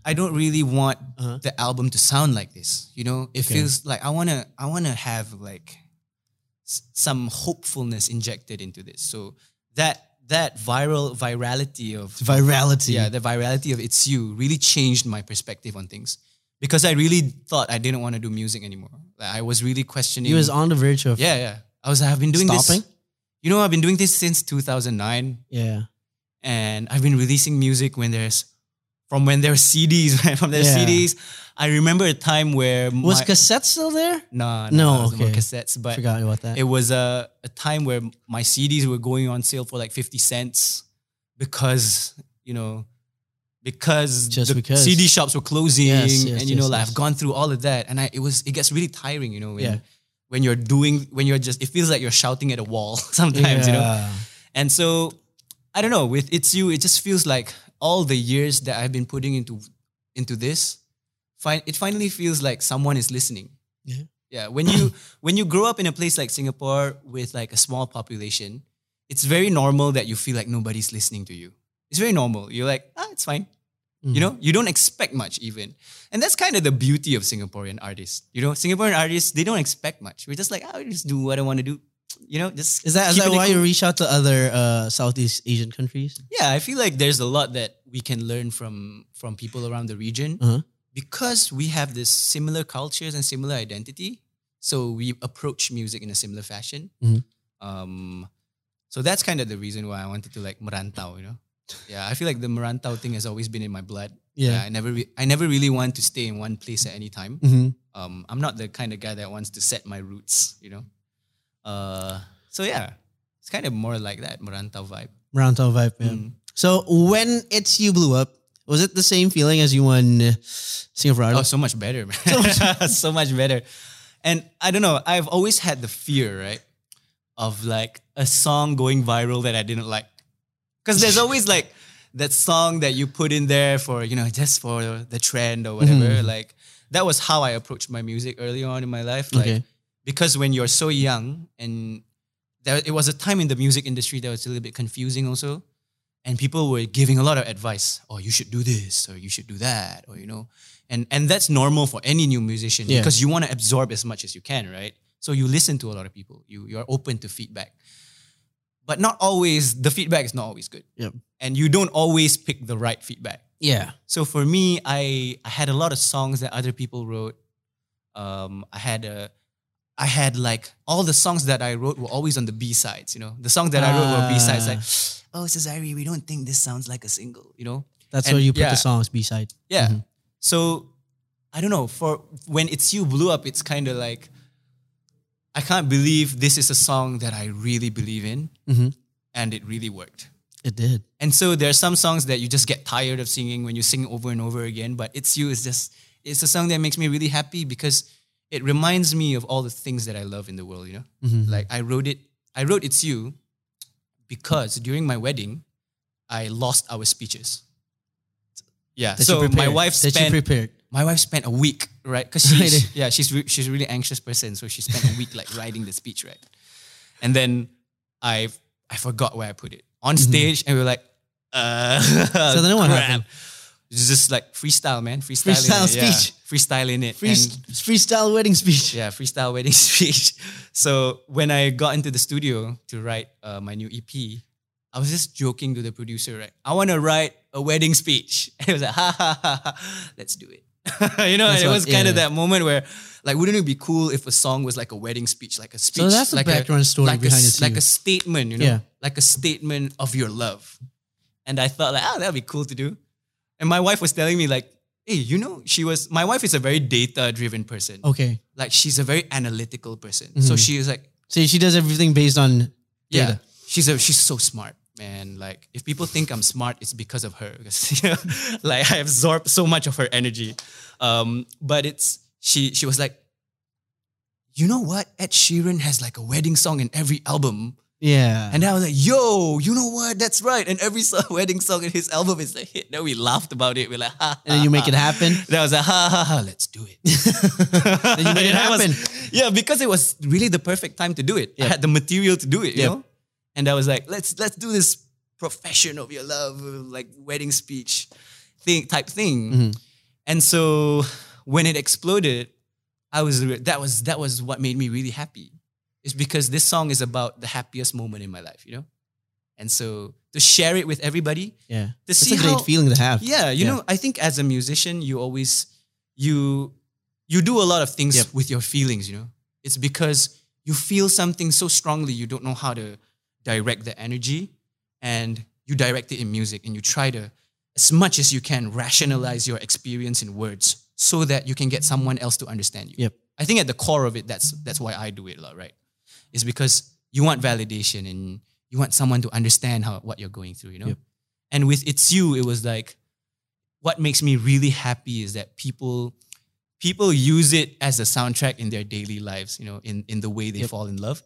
S2: I don't really want
S1: Uh-huh.
S2: the album to sound like this. You know, it
S1: Okay.
S2: feels like I wanna I wanna have like s- some hopefulness injected into this. So that that viral virality of
S1: virality.
S2: yeah the virality of it's you really changed my perspective on things because I really thought I didn't want to do music anymore. Like, I was really questioning.
S1: he was on the verge of
S2: yeah, yeah. I was I've been doing
S1: Stopping?
S2: this. You know, I've been doing this since 2009
S1: yeah.
S2: and I've been releasing music when there's from when there's CDs, right? From their
S1: Yeah.
S2: CDs. I remember a time where
S1: Was
S2: my,
S1: cassette still there?
S2: nah,
S1: No,
S2: nah, no more
S1: okay.
S2: cassettes, but
S1: Forgot about that.
S2: it was a, a time where my CDs were going on sale for like 50 cents because, you know, because
S1: Just
S2: the
S1: because.
S2: CD shops were closing
S1: Yes, yes,
S2: and you
S1: yes,
S2: know like
S1: yes.
S2: I've gone through all of that and I it was it gets really tiring, you know, when,
S1: Yeah.
S2: when you're doing when you're just it feels like you're shouting at a wall sometimes, you know. And so I don't know, with It's You, it just feels like all the years that I've been putting into into this, fin- it finally feels like someone is listening.
S1: Yeah.
S2: Yeah. When you when you grow up in a place like Singapore with like a small population, it's very normal that you feel like nobody's listening to you. It's very normal. You're like, ah, it's fine.
S1: Mm. Hmm.
S2: You know, you don't expect much even. And that's kind of the beauty of Singaporean artists. You know, Singaporean artists, they don't expect much. We're just like, I'll just do what I want to do. You know, just
S1: Is that is that
S2: keep it
S1: why you
S2: cool.
S1: reach out to other uh, Southeast Asian countries?
S2: Yeah, I feel like there's a lot that we can learn from from people around the region
S1: Uh-huh.
S2: because we have this similar cultures and similar identity. So we approach music in a similar fashion.
S1: Mhm.
S2: Um, so that's kind of the reason why I wanted to like merantau, you know. Yeah, I feel like the merantau thing has always been in my blood. I never, re- I never really want to stay in one place at any time.
S1: hmm
S2: Um, I'm not the kind of guy that wants to set my roots, you know. Uh, so yeah, it's kind of more like that merantau vibe.
S1: Round top vibe, man.
S2: Mm.
S1: So when it's you blew up, was it the same feeling as you won uh, Singapore Idol?
S2: Oh, so much better, man. so much better. And I don't know, I've always had the fear, right? Of like a song going viral that I didn't like. Because there's always like that song that you put in there for, you know, just for the trend or whatever. Like that was how I approached my music early on in my life. Oh,
S1: Okay.
S2: Like because when you're so young and there, it was a time in the music industry that was a little bit confusing also and people were giving a lot of advice oh you should do this or you should do that or you know and and that's normal for any new musician
S1: Yeah.
S2: because you want to absorb as much as you can right so you listen to a lot of people you you're open to feedback but not always the feedback is not always good
S1: Yep.
S2: and you don't always pick the right feedback
S1: Yeah.
S2: so for me, I I had a lot of songs that other people wrote. Um, I had a, I had like all the songs that I wrote were always on the B sides. You know, the songs that I wrote were B sides. Like, oh, Cesare, we don't think this sounds like a single. You know,
S1: That's
S2: And-
S1: where you put
S2: yeah.
S1: the songs B side.
S2: yeah. So I don't know. For when it's you blew up, it's kind of like I can't believe this is a song that I really believe in,
S1: Mhm.
S2: and it really worked.
S1: It did.
S2: And so there are some songs that you just get tired of singing when you sing over and over again, but It's You is just, it's a song that makes me really happy because it reminds me of all the things that I love in the world, you know?
S1: Mhm.
S2: Like I wrote it, I wrote It's You because during my wedding, I lost our speeches. Yeah,
S1: That
S2: so
S1: you
S2: my
S1: prepared.
S2: wife
S1: that you
S2: spent
S1: prepared.
S2: my wife spent a week, right? Because she's yeah, she's re- she's a really anxious person, so she spent a week like writing the speech, right? And then I I forgot where I put it on stage, and we were like, uh,
S1: Mm-hmm. So then what
S2: crap.
S1: happened?
S2: It's just like freestyle, man, freestyle,
S1: Freestyle
S2: in it, yeah.
S1: speech.
S2: freestyle in it,
S1: Free,
S2: and
S1: freestyle wedding speech.
S2: yeah, freestyle wedding speech. So when I got into the studio to write uh, my new EP, I was just joking to the producer, right? I want to write a wedding speech. And he was like, ha ha ha, ha let's do it. you know,
S1: That's
S2: and it
S1: what-
S2: was kind
S1: yeah.
S2: of that moment where, like, wouldn't it be cool if a song was like a wedding speech, like a speech,
S1: that's the
S2: like
S1: background story
S2: like
S1: behind
S2: a,
S1: It's
S2: like
S1: You.
S2: a statement, you know,
S1: Yeah.
S2: like a statement of your love. And I thought, like, oh, that'd be cool to do. And my wife was telling me, like, hey, you know, she was. My wife is a very data-driven person
S1: Okay.
S2: like she's a very analytical person.
S1: Mm-hmm.
S2: So she is like,
S1: So she does everything based on
S2: yeah,
S1: data.
S2: she's a she's so smart, man. Like if people think I'm smart, it's because of her. Because you know, like I absorb so much of her energy. Um, but it's she she was like, you know what? Ed Sheeran has like a wedding song in every album.
S1: Yeah.
S2: And I was like, yo, you know what? That's right. And every song, wedding song in his album is a hit. Then we laughed about it. We're like, ha.
S1: And then you make it happen.
S2: That was like, ha ha ha, let's do it.
S1: Then you make it
S2: Yeah, was-
S1: happen.
S2: yeah, because it was really the perfect time to do it. I
S1: Yeah.
S2: had the material to do it, you
S1: Yeah.
S2: know? And I was like, let's let's do
S1: Mm-hmm.
S2: this profession of your love, like wedding speech thing type thing. And so when it exploded, I was re- that was that was what made me really happy. It's because this song is about the happiest moment in my life, you know? And so to share it with everybody,
S1: Yeah.
S2: to
S1: It's
S2: see
S1: a great
S2: how
S1: feeling to have.
S2: yeah, you
S1: Yeah.
S2: know, I think as a musician, you always you you do a lot of things
S1: Yep.
S2: with your feelings, you know. It's because you feel something so strongly you don't know how to direct the energy and you direct it in music and you try to as much as you can rationalize your experience in words so that you can get someone else to understand you.
S1: Yep.
S2: I think at the core of it that's that's why I do it a lot, right? Is because you want validation and you want someone to understand how what you're going through, you know?
S1: Yep.
S2: And with It's You, it was like what makes me really happy is that people people use it as a soundtrack in their daily lives, you know, in, in the way they
S1: Yep.
S2: fall in love.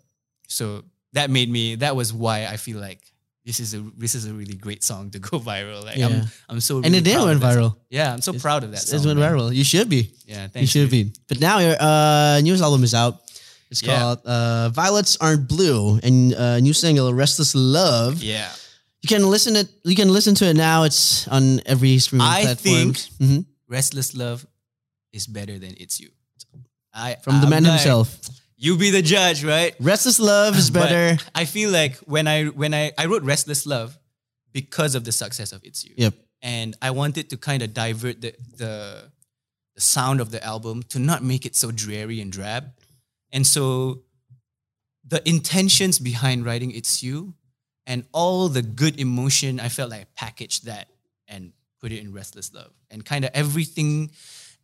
S2: So that made me that was why I feel like this is a this is a really great song to go viral. Like I'm
S1: Yeah.
S2: I'm so
S1: And
S2: really
S1: it did
S2: proud
S1: went
S2: of that song.
S1: viral.
S2: Yeah, I'm so
S1: It's-
S2: proud of that.
S1: It's
S2: song,
S1: went
S2: man.
S1: viral. You should be.
S2: Yeah, thanks.
S1: You should
S2: dude.
S1: be. But now your uh, newest album is out. It's
S2: Yeah.
S1: called uh, Violets Aren't Blue, and uh, new single Restless Love.
S2: Yeah.
S1: You can listen it. You can listen to it now. It's on every streaming
S2: I
S1: platform.
S2: think-
S1: Mhm.
S2: Restless Love is better than It's You. I
S1: from the
S2: I'm
S1: man
S2: like,
S1: himself.
S2: You be the judge, right?
S1: Restless Love is
S2: But
S1: better.
S2: I feel like when I when I I wrote Restless Love because of the success of It's You.
S1: yep.
S2: And I wanted to kind of divert the, the the sound of the album to not make it so dreary and drab. And so the intentions behind writing It's You and all the good emotion, I felt like I packaged that and put it in Restless Love. And kind of everything,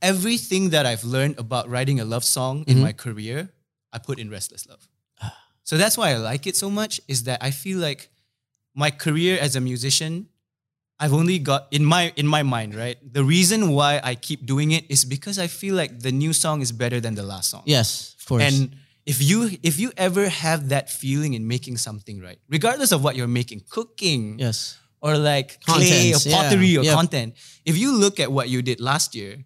S2: everything that I've learned about writing a love song in
S1: Mhm.
S2: my career, I put in Restless Love. So that's why I like it so much, is that I feel like my career as a musician, I've only got in my in my mind, right? The reason why I keep doing it is because I feel like the new song is better than the last song.
S1: Yes, of course.
S2: And if you if you ever have that feeling in making something right, regardless of what you're making, cooking
S1: yes.
S2: or like clay or
S1: Contents, yeah,
S2: pottery or
S1: yeah.
S2: content, if you look at what you did last year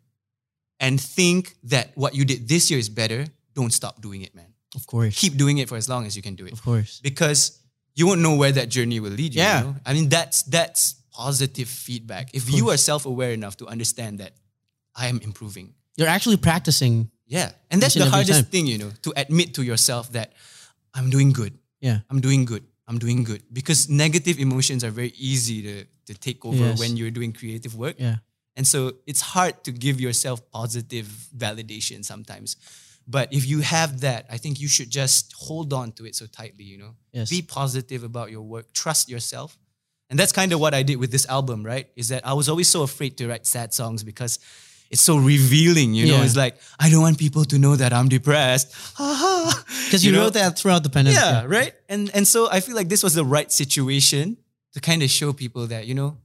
S2: and think that what you did this year is better, don't stop doing it, man.
S1: Of course.
S2: Keep doing it for as long as you can do it.
S1: of course.
S2: Because you won't know where that journey will lead you. you
S1: Yeah.
S2: know? I mean that's that's positive feedback. If you are self-aware enough to understand that I am improving.
S1: You're actually practicing.
S2: Yeah. And that's
S1: Each and
S2: the
S1: every
S2: hardest
S1: time.
S2: thing, you know, to admit to yourself that I'm doing good.
S1: Yeah.
S2: I'm doing good. I'm doing good. Because negative emotions are very easy to, to take over
S1: Yes.
S2: when you're doing creative work.
S1: Yeah.
S2: And so it's hard to give yourself positive validation sometimes. But if you have that, I think you should just hold on to it so tightly, you know?
S1: Yes.
S2: Be positive about your work, trust yourself. And that's kind of what I did with this album, right? Is that I was always so afraid to write sad songs because it's so revealing, you know?
S1: Yeah.
S2: It's like, I don't want people to know that I'm depressed. Because
S1: Because you, wrote that throughout the pandemic.
S2: yeah, right. And and so I feel like this was the right situation to kind of show people that you know,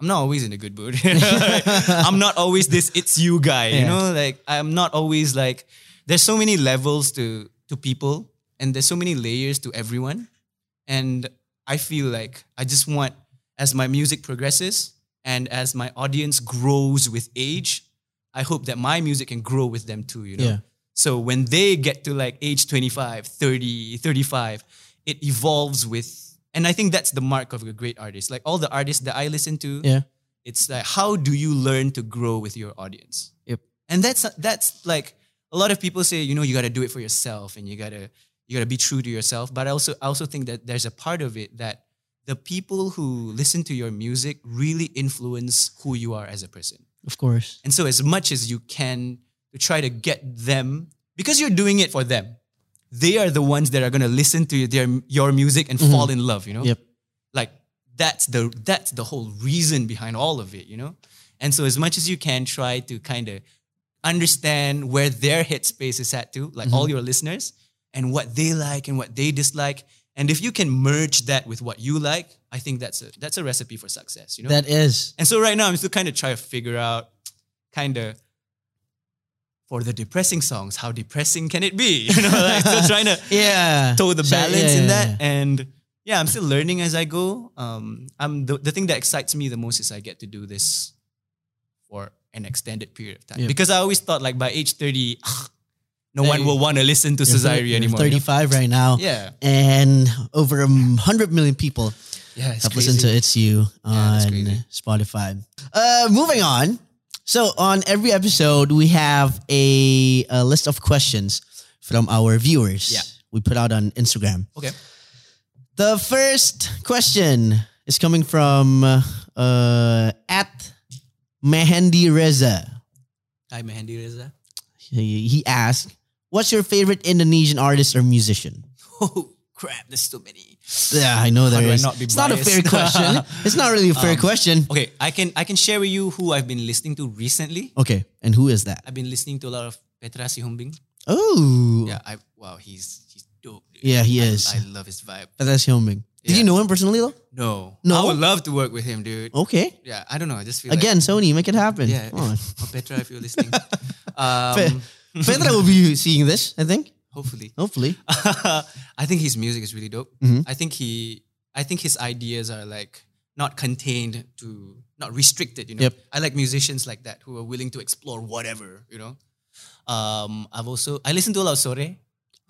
S2: I'm not always in a good mood. I'm not always this it's you guy. You
S1: Yeah.
S2: know, like I'm not always like. There's so many levels to to people, and there's so many layers to everyone. And I feel like I just want as my music progresses and as my audience grows with age, I hope that my music can grow with them too, you know.
S1: Yeah.
S2: So when they get to like age 25, 30, 35, it evolves with and I think that's the mark of a great artist. Like all the artists that I listen to,
S1: Yeah.
S2: it's like how do you learn to grow with your audience?
S1: Yep.
S2: And that's that's like a lot of people say, you know, you got to do it for yourself and you got to you got to be true to yourself, but I also I also think that there's a part of it that the people who listen to your music really influence who you are as a person.
S1: Of course.
S2: And so, as much as you can to try to get them, because you're doing it for them, they are the ones that are going to listen to their, your music and fall in love, you know?
S1: Yep.
S2: Like, that's the, that's the whole reason behind all of it, you know? And so, as much as you can, try to kind of understand where their headspace is at, too, like all your listeners, and what they like and what they dislike. And if you can merge that with what you like, I think that's a, that's a recipe for success, you know?
S1: That is.
S2: And so right now, I'm still kind of trying to figure out, kind of, for the depressing songs, how depressing can it be? You know, like still trying to
S1: Yeah.
S2: toe the
S1: Sure,
S2: balance
S1: yeah,
S2: in
S1: yeah,
S2: that.
S1: yeah.
S2: And yeah, I'm still learning as I go. Um, I'm the, the thing that excites me the most is I get to do this for an extended period of time
S1: Yeah.
S2: because I always thought like by age 30, no
S1: Yeah,
S2: one
S1: you-
S2: will want to listen to
S1: You're thir-
S2: Cesari
S1: you're
S2: anymore. you know?
S1: 35 right now.
S2: Yeah,
S1: And over a hundred million people
S2: yeah. It's
S1: have listened to
S2: crazy.
S1: It's You
S2: Yeah, that's
S1: on
S2: crazy.
S1: Spotify. Uh, moving on. So on every episode, we have a, a list of questions from our viewers.
S2: Yeah.
S1: We put out on Instagram.
S2: Okay.
S1: The first question is coming from uh, at Mehendi Reza.
S2: Hi, Mehendi Reza.
S1: He, he asked, "What's your favorite Indonesian artist or musician?"
S2: Oh, crap. There's too many.
S1: Yeah, I know there
S2: do I
S1: is.
S2: not be
S1: it's not a fair
S2: biased? Um,
S1: question. it's not really a fair question.
S2: Okay, I can I can share with you who I've been listening to recently.
S1: Okay, and who is that?
S2: I've been listening to a lot of Petra Sihombing.
S1: Oh,
S2: Yeah, I wow, he's he's dope. dude.
S1: Yeah, he
S2: I-
S1: is.
S2: I love his vibe.
S1: But that's Hyunbin. Did
S2: Yeah.
S1: you know him personally though?
S2: No,
S1: No?
S2: I would love to work with him, dude.
S1: Okay.
S2: Yeah, I don't know. I just feel
S1: Again, Sony, make it happen.
S2: Like, yeah,
S1: Come on.
S2: if- or Petra, if you're listening, um,
S1: Petra will be seeing this, I think.
S2: hopefully.
S1: Hopefully.
S2: I think his music is really dope.
S1: Mhm.
S2: I think he, I think his ideas are like not contained to, not restricted. You know,
S1: Yep.
S2: I like musicians like that who are willing to explore whatever. You know, um, I've also I listen to a lot of Sore.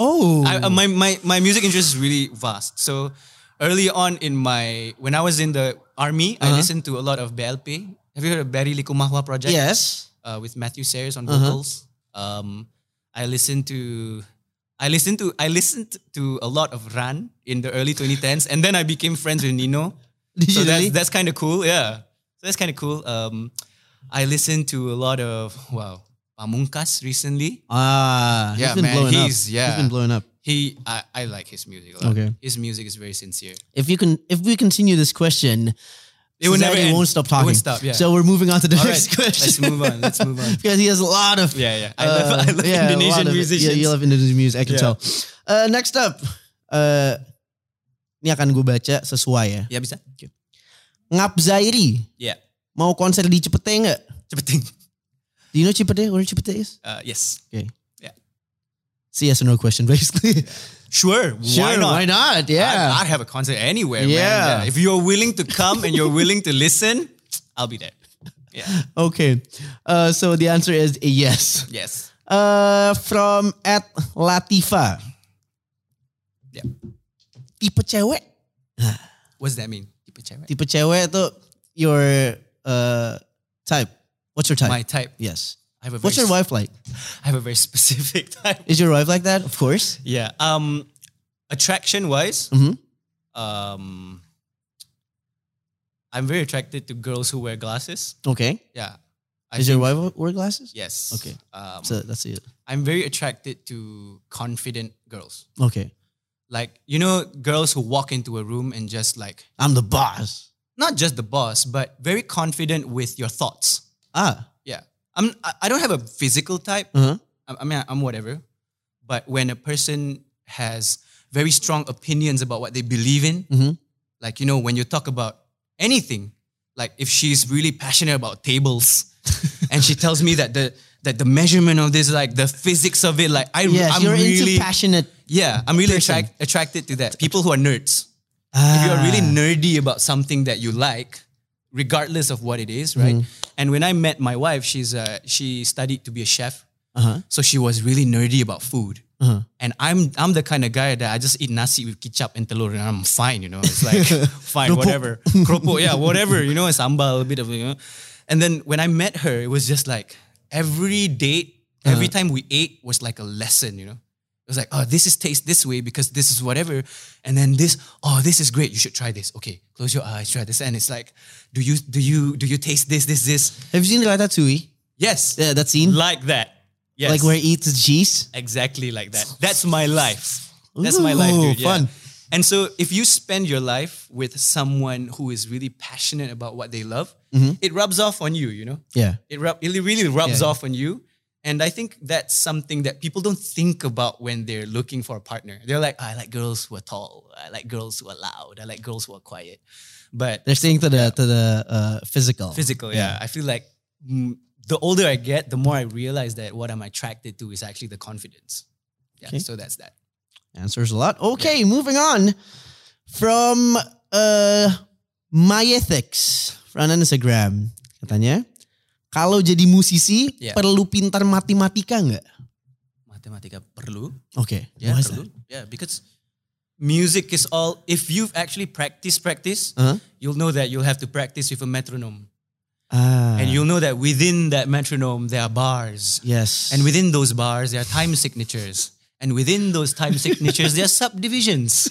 S1: Oh.
S2: I, uh, my, my my music interest is really vast. So early on in my when I was in the army, I
S1: Uh-huh.
S2: listened to a lot of BLP. Have you heard of Barry Likumahua project?
S1: yes.
S2: uh, with Matthew Sayers on
S1: Uh-huh.
S2: vocals. Um, I listened to, I listened to, I listened to a lot of Ran in the early 2010s, and then I became friends with Nino.
S1: Did
S2: So
S1: you
S2: that's
S1: really?
S2: that's kind of cool. Yeah, so that's kind of cool. Um, I listened to a lot of wow, Pamungkas recently.
S1: Ah, he's
S2: Yeah,
S1: been
S2: man,
S1: blowing
S2: he's-
S1: up.
S2: yeah.
S1: He's been blowing up.
S2: He, I, I like his music a lot.
S1: Okay.
S2: His music is very sincere.
S1: If you can if we continue this question,
S2: It will never
S1: society
S2: end.
S1: won't stop talking.
S2: It won't stop. Yeah.
S1: So we're moving on to the
S2: All right,
S1: next question.
S2: let's move on. Let's move on.
S1: because he has a lot of
S2: Yeah, yeah. I love, I love
S1: yeah, a lot
S2: Indonesian
S1: of-
S2: musicians.
S1: Yeah, you love Indonesian music, I can tell.
S2: Yeah.
S1: Uh, next up, uh, ini akan gue baca sesuai ya.
S2: yeah, bisa.
S1: Ngap Zairi
S2: Yeah.
S1: mau konser di Cipete nggak?
S2: Cepeting.
S1: Do you know Cipete? Where Cipete is?
S2: Uh, yes.
S1: It's a yes or no question, basically.
S2: Sure. Why not?
S1: Why not? Yeah.
S2: I'd, I'd have a concert anywhere.
S1: Yeah.
S2: Yeah. If you're willing to come and you're willing to listen, I'll be there. Yeah.
S1: okay. Uh, so the answer is a yes.
S2: Yes.
S1: Uh, from at Latifa.
S2: Yeah.
S1: Tipe cewek.
S2: What's that mean? Tipe cewek.
S1: Tipe cewek itu your uh, type. What's your type?
S2: My type.
S1: yes.
S2: I have a very,
S1: What's your
S2: s-
S1: wife like?
S2: I have a very specific type.
S1: Is your wife like that? Of course.
S2: Yeah. Um, attraction wise,
S1: Mhm.
S2: um, I'm very attracted to girls who wear glasses.
S1: Okay.
S2: Yeah. I
S1: Is your
S2: think-
S1: wife wear glasses?
S2: Yes.
S1: Okay.
S2: Um,
S1: So that's it.
S2: I'm very attracted to confident girls.
S1: Okay.
S2: Like you know, girls who walk into a room and just like
S1: I'm the boss.
S2: not just the boss, but very confident with your thoughts.
S1: Ah.
S2: Yeah. I'm, I I don't have a physical type.
S1: Uh-huh.
S2: I, I mean, I'm whatever. But when a person has very strong opinions about what they believe in,
S1: Mhm.
S2: like, you know, when you talk about anything, like if she's really passionate about tables and she tells me that the, that the measurement of this, like the physics of it, like I,
S1: Yes,
S2: I'm
S1: you're
S2: really,
S1: into passionate.
S2: yeah, I'm really
S1: person.
S2: attract, attracted to that. People who are nerds if
S1: Ah.
S2: you're really nerdy about something that you like, regardless of what it is, right?
S1: Mm-hmm.
S2: And when I met my wife, she's uh, she studied to be a chef,
S1: Uh-huh.
S2: so she was really nerdy about food.
S1: Uh-huh.
S2: And I'm I'm the kind of guy that I just eat nasi with ketchup and telur, and I'm fine, you know. It's like fine, whatever, Keropok, yeah, whatever, you know, sambal, a bit of you know. And then when I met her, it was just like every date, every
S1: Uh-huh.
S2: time we ate was like a lesson, you know. It was like, oh, this is taste this way because this is whatever. And then this, oh, this is great. You should try this. Okay, close your eyes, try this. And it's like, do you do you do you taste this, this, this?
S1: Ah. Have you seen Ratatouille?
S2: Yes.
S1: Yeah, that scene?
S2: Like that. Yes.
S1: Like where he eats the cheese?
S2: Exactly like that. That's my life. That's my life,
S1: Ooh,
S2: dude. Yeah.
S1: fun.
S2: And so if you spend your life with someone who is really passionate about what they love, it rubs off on you, you know?
S1: Yeah.
S2: It, rub, it really rubs
S1: Yeah.
S2: off on you. And I think that's something that people don't think about when they're looking for a partner. They're like, "Oh, I like girls who are tall. I like girls who are loud. I like girls who are quiet. But
S1: They're staying to the to the uh, physical.
S2: physical, yeah. I feel like mm, the older I get, the more I realize that what I'm attracted to is actually the confidence. Yeah,
S1: Okay.
S2: so that's that.
S1: Answers a lot. Okay, moving on from uh, my ethics from Instagram katanya kalau jadi musisi
S2: Yeah.
S1: perlu pintar matematika nggak?
S2: Matematika perlu.
S1: Oke,
S2: Yeah,
S1: why is
S2: perlu. Yeah, because music is all. If you've actually practiced, practice,
S1: that? Uh-huh.
S2: you'll know that you'll have to practice with a metronome.
S1: Ah,
S2: And you'll know that within that metronome, there are bars.
S1: yes.
S2: And within those bars, there are time signatures. And within those time signatures, there are subdivisions.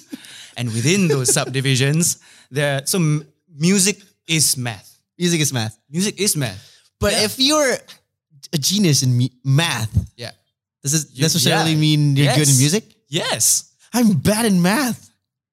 S2: And within those subdivisions, there are, so m- music is math.
S1: music is math.
S2: Music is math.
S1: But
S2: Yeah.
S1: if you're a genius in mu- math,
S2: Yeah.
S1: does it
S2: You-
S1: necessarily
S2: yeah.
S1: mean you're good in
S2: Yes.
S1: music?
S2: Yes.
S1: I'm bad in math.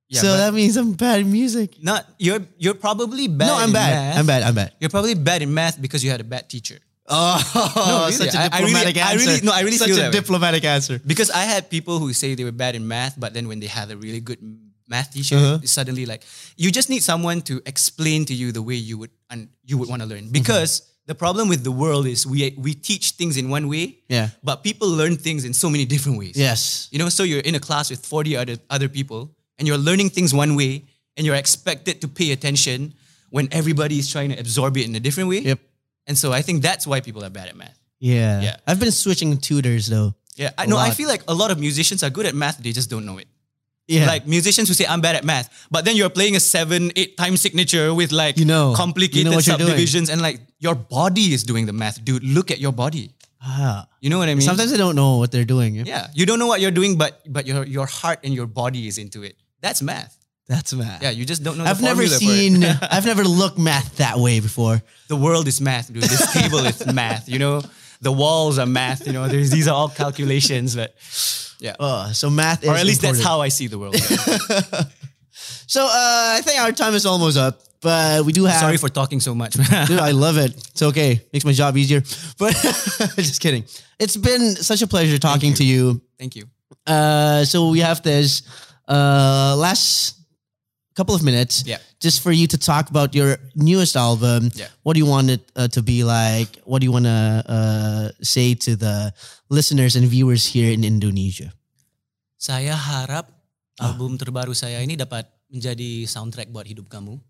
S2: Yeah,
S1: so
S2: but
S1: that means I'm bad in music.
S2: not you're you're probably bad.
S1: No, I'm
S2: in
S1: bad.
S2: math.
S1: I'm bad. I'm bad.
S2: You're probably bad in math because you had a bad teacher.
S1: Oh,
S2: really.
S1: such a
S2: I- I really-
S1: diplomatic
S2: I
S1: answer.
S2: really- no, I really
S1: such
S2: feel
S1: a
S2: that way.
S1: diplomatic answer.
S2: Because I had people who say they were bad in math, but then when they had a really good math teacher,
S1: Uh-huh.
S2: it's suddenly like you just need someone to explain to you the way you would and you would want to learn. Because the problem with the world is we we teach things in one way,
S1: Yeah.
S2: but people learn things in so many different ways.
S1: Yes.
S2: You know, so you're in a class with 40 other, other people and you're learning things one way and you're expected to pay attention when everybody is trying to absorb it in a different way.
S1: Yep.
S2: And so I think that's why people are bad at math.
S1: Yeah.
S2: Yeah.
S1: I've been switching tutors though.
S2: Yeah. I
S1: A
S2: know I
S1: lot.
S2: feel like a lot of musicians are good at math, they just don't know it.
S1: Yeah.
S2: Like musicians who say I'm bad at math, but then you're playing a seven, eight time signature with like
S1: You know.
S2: complicated
S1: You know what you're doing.
S2: subdivisions and like your body is doing the math, dude. Look at your body.
S1: Ah.
S2: You know what I mean?
S1: sometimes I don't know what they're doing.
S2: yeah, you don't know what you're doing, but but your your heart and your body is into it. That's math.
S1: That's math.
S2: Yeah, you just don't know.
S1: I've
S2: the
S1: never
S2: formula for it.
S1: seen. I've never looked math that way before.
S2: the world is math, dude. This table is math. You know, the walls are math. You know, there's these are all calculations, but yeah,
S1: Oh, so math is.
S2: or at least that's
S1: important.
S2: how I see the world.
S1: So uh, I think our time is almost up, but we do have.
S2: Sorry for talking so much.
S1: Dude, I love it. It's okay. Makes my job easier. But just kidding. It's been such a pleasure talking to you.
S2: Thank you.
S1: Uh, so we have this uh, last couple of minutes
S2: Yeah.
S1: just for you to talk about your newest album.
S2: Yeah.
S1: What do you want it uh, to be like? What do you want to uh, say to the listeners and viewers here in Indonesia?
S2: Saya harap
S1: Ah.
S2: album terbaru saya ini dapat menjadi soundtrack buat hidup kamu.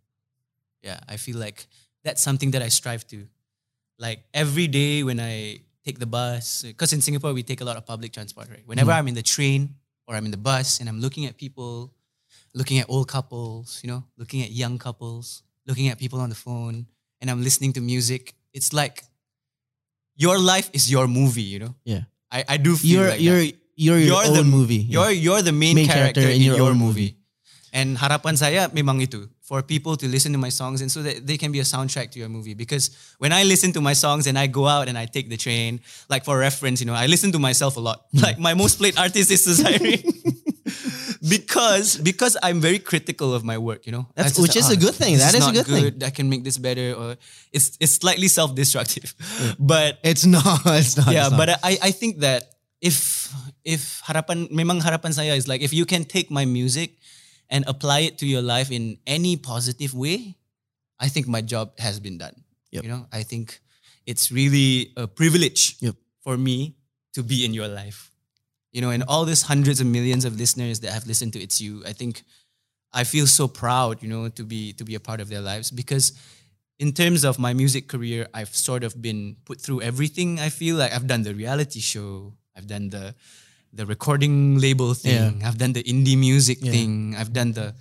S2: Yeah, I feel like that's something that I strive to. Like every day when I take the bus, because in Singapore we take a lot of public transport, right? Whenever
S1: Hmm.
S2: I'm in the train or I'm in the bus and I'm looking at people, looking at old couples, you know, looking at young couples, looking at people on the phone, and I'm listening to music, it's like your life is your movie, you know?
S1: Yeah.
S2: I, I do feel
S1: You're
S2: like that.
S1: you're you're your
S2: You're the-
S1: own movie. Yeah.
S2: You're you're the main,
S1: Main
S2: character,
S1: character
S2: in,
S1: in your
S2: your
S1: own
S2: movie. And harapan saya memang itu for people to listen to my songs and so that they can be a soundtrack to your movie because when I listen to my songs and I go out and I take the train like for reference you know I listen to myself a lot
S1: Hmm.
S2: like my most played artist is Cesare because because I'm very critical of my work you know
S1: That's-
S2: I just "Oh,
S1: which is a good thing.
S2: this
S1: That is a
S2: not
S1: good thing."
S2: I can make this better or it's it's slightly self-destructive but
S1: it's not. It's not.
S2: yeah,
S1: it's not.
S2: but uh, I I think that if if harapan memang harapan saya is like if you can take my music and apply it to your life in any positive way, I think my job has been done.
S1: Yep.
S2: You know, I think it's really a privilege
S1: Yep.
S2: for me to be in your life. You know, and all these hundreds of millions of listeners that have listened to It's You, I think I feel so proud, you know, to be to be a part of their lives because in terms of my music career, I've sort of been put through everything. I feel like I've done the reality show, I've done the the recording label thing, I've done the indie music
S1: Yeah.
S2: thing, I've done the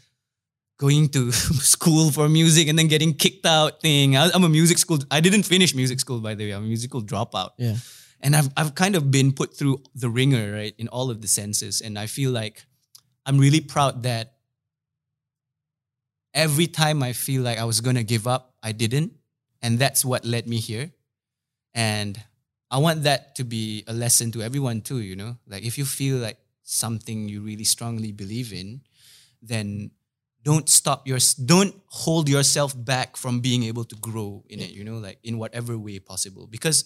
S2: going to school for music and then getting kicked out thing. I, I'm a music school. I didn't finish music school by the way. I'm a musical dropout.
S1: yeah.
S2: And I've I've kind of been put through the ringer, right, in all of the senses. And I feel like I'm really proud that every time I feel like I was gonna give up, I didn't. And that's what led me here. And I want that to be a lesson to everyone too, you know? Like if you feel like something you really strongly believe in, then don't stop your don't hold yourself back from being able to grow in it, you know, like in whatever way possible. Because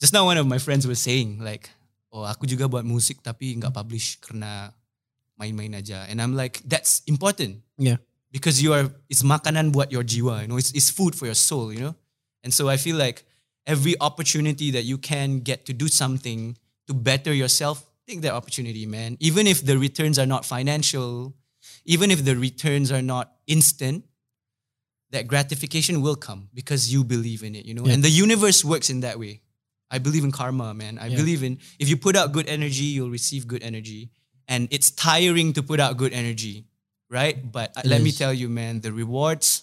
S2: just now one of my friends was saying like, oh aku juga buat musik tapi nggak publish karena main-main aja. And I'm like, that's important
S1: Yeah.
S2: because you are it's makanan buat your jiwa you know it's, it's food for your soul you know and so i feel like every opportunity that you can get to do something to better yourself take that opportunity man even if the returns are not financial even if the returns are not instant that gratification will come because you believe in it you know
S1: Yeah.
S2: and the universe works in that way i believe in karma man i
S1: Yeah.
S2: believe in if you put out good energy you'll receive good energy and it's tiring to put out good energy right? But
S1: It
S2: uh, let me
S1: is.
S2: tell you, man, the rewards,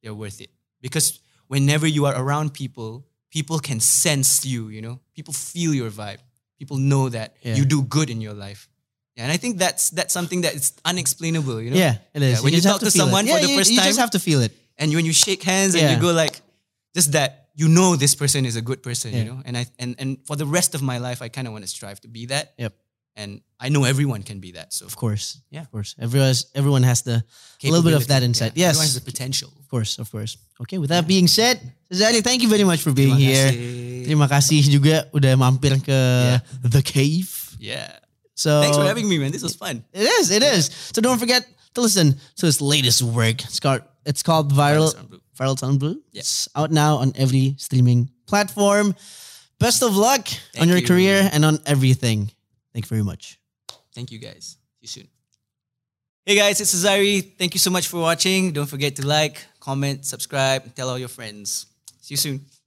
S2: they're worth it. Because whenever you are around people, people can sense you, you know, people feel your vibe. People know that
S1: Yeah.
S2: you do good in your life. Yeah, and I think that's that's something that is unexplainable, you know?
S1: Yeah, it is.
S2: Yeah, when you
S1: just have
S2: talk to
S1: feel it.
S2: someone for
S1: Yeah,
S2: the
S1: you-
S2: first
S1: you
S2: time-
S1: just have to feel it.
S2: and when you shake hands and
S1: Yeah.
S2: you go like just that you know this person is a good person you
S1: Yeah.
S2: know and i and and for the rest of my life i kind of want to strive to be that
S1: Yep.
S2: and i know everyone can be that so
S1: Of course.
S2: Yeah.
S1: Of course. Everyone has, everyone has the, a little bit of that
S2: Capability,
S1: insight.
S2: yeah. everyone
S1: Yes.
S2: has the potential
S1: Of course, of course. Okay, with that being said, Zali, thank you very much for being
S2: Terima
S1: here.
S2: kasih.
S1: Terima kasih juga udah mampir ke The Cave.
S2: yeah
S1: So
S2: thanks for having me man this was fun
S1: It is, it is. So don't forget to listen to his latest work. It's called it's called Viral
S2: Viral Sound Blue.
S1: Viral Sound Blue.
S2: Yeah.
S1: It's out now on every streaming platform. Best of luck on your
S2: you.
S1: career and on everything. Thank you very much.
S2: thank you guys see you soon hey guys it's Azari thank you so much for watching don't forget to like comment subscribe tell all your friends see you soon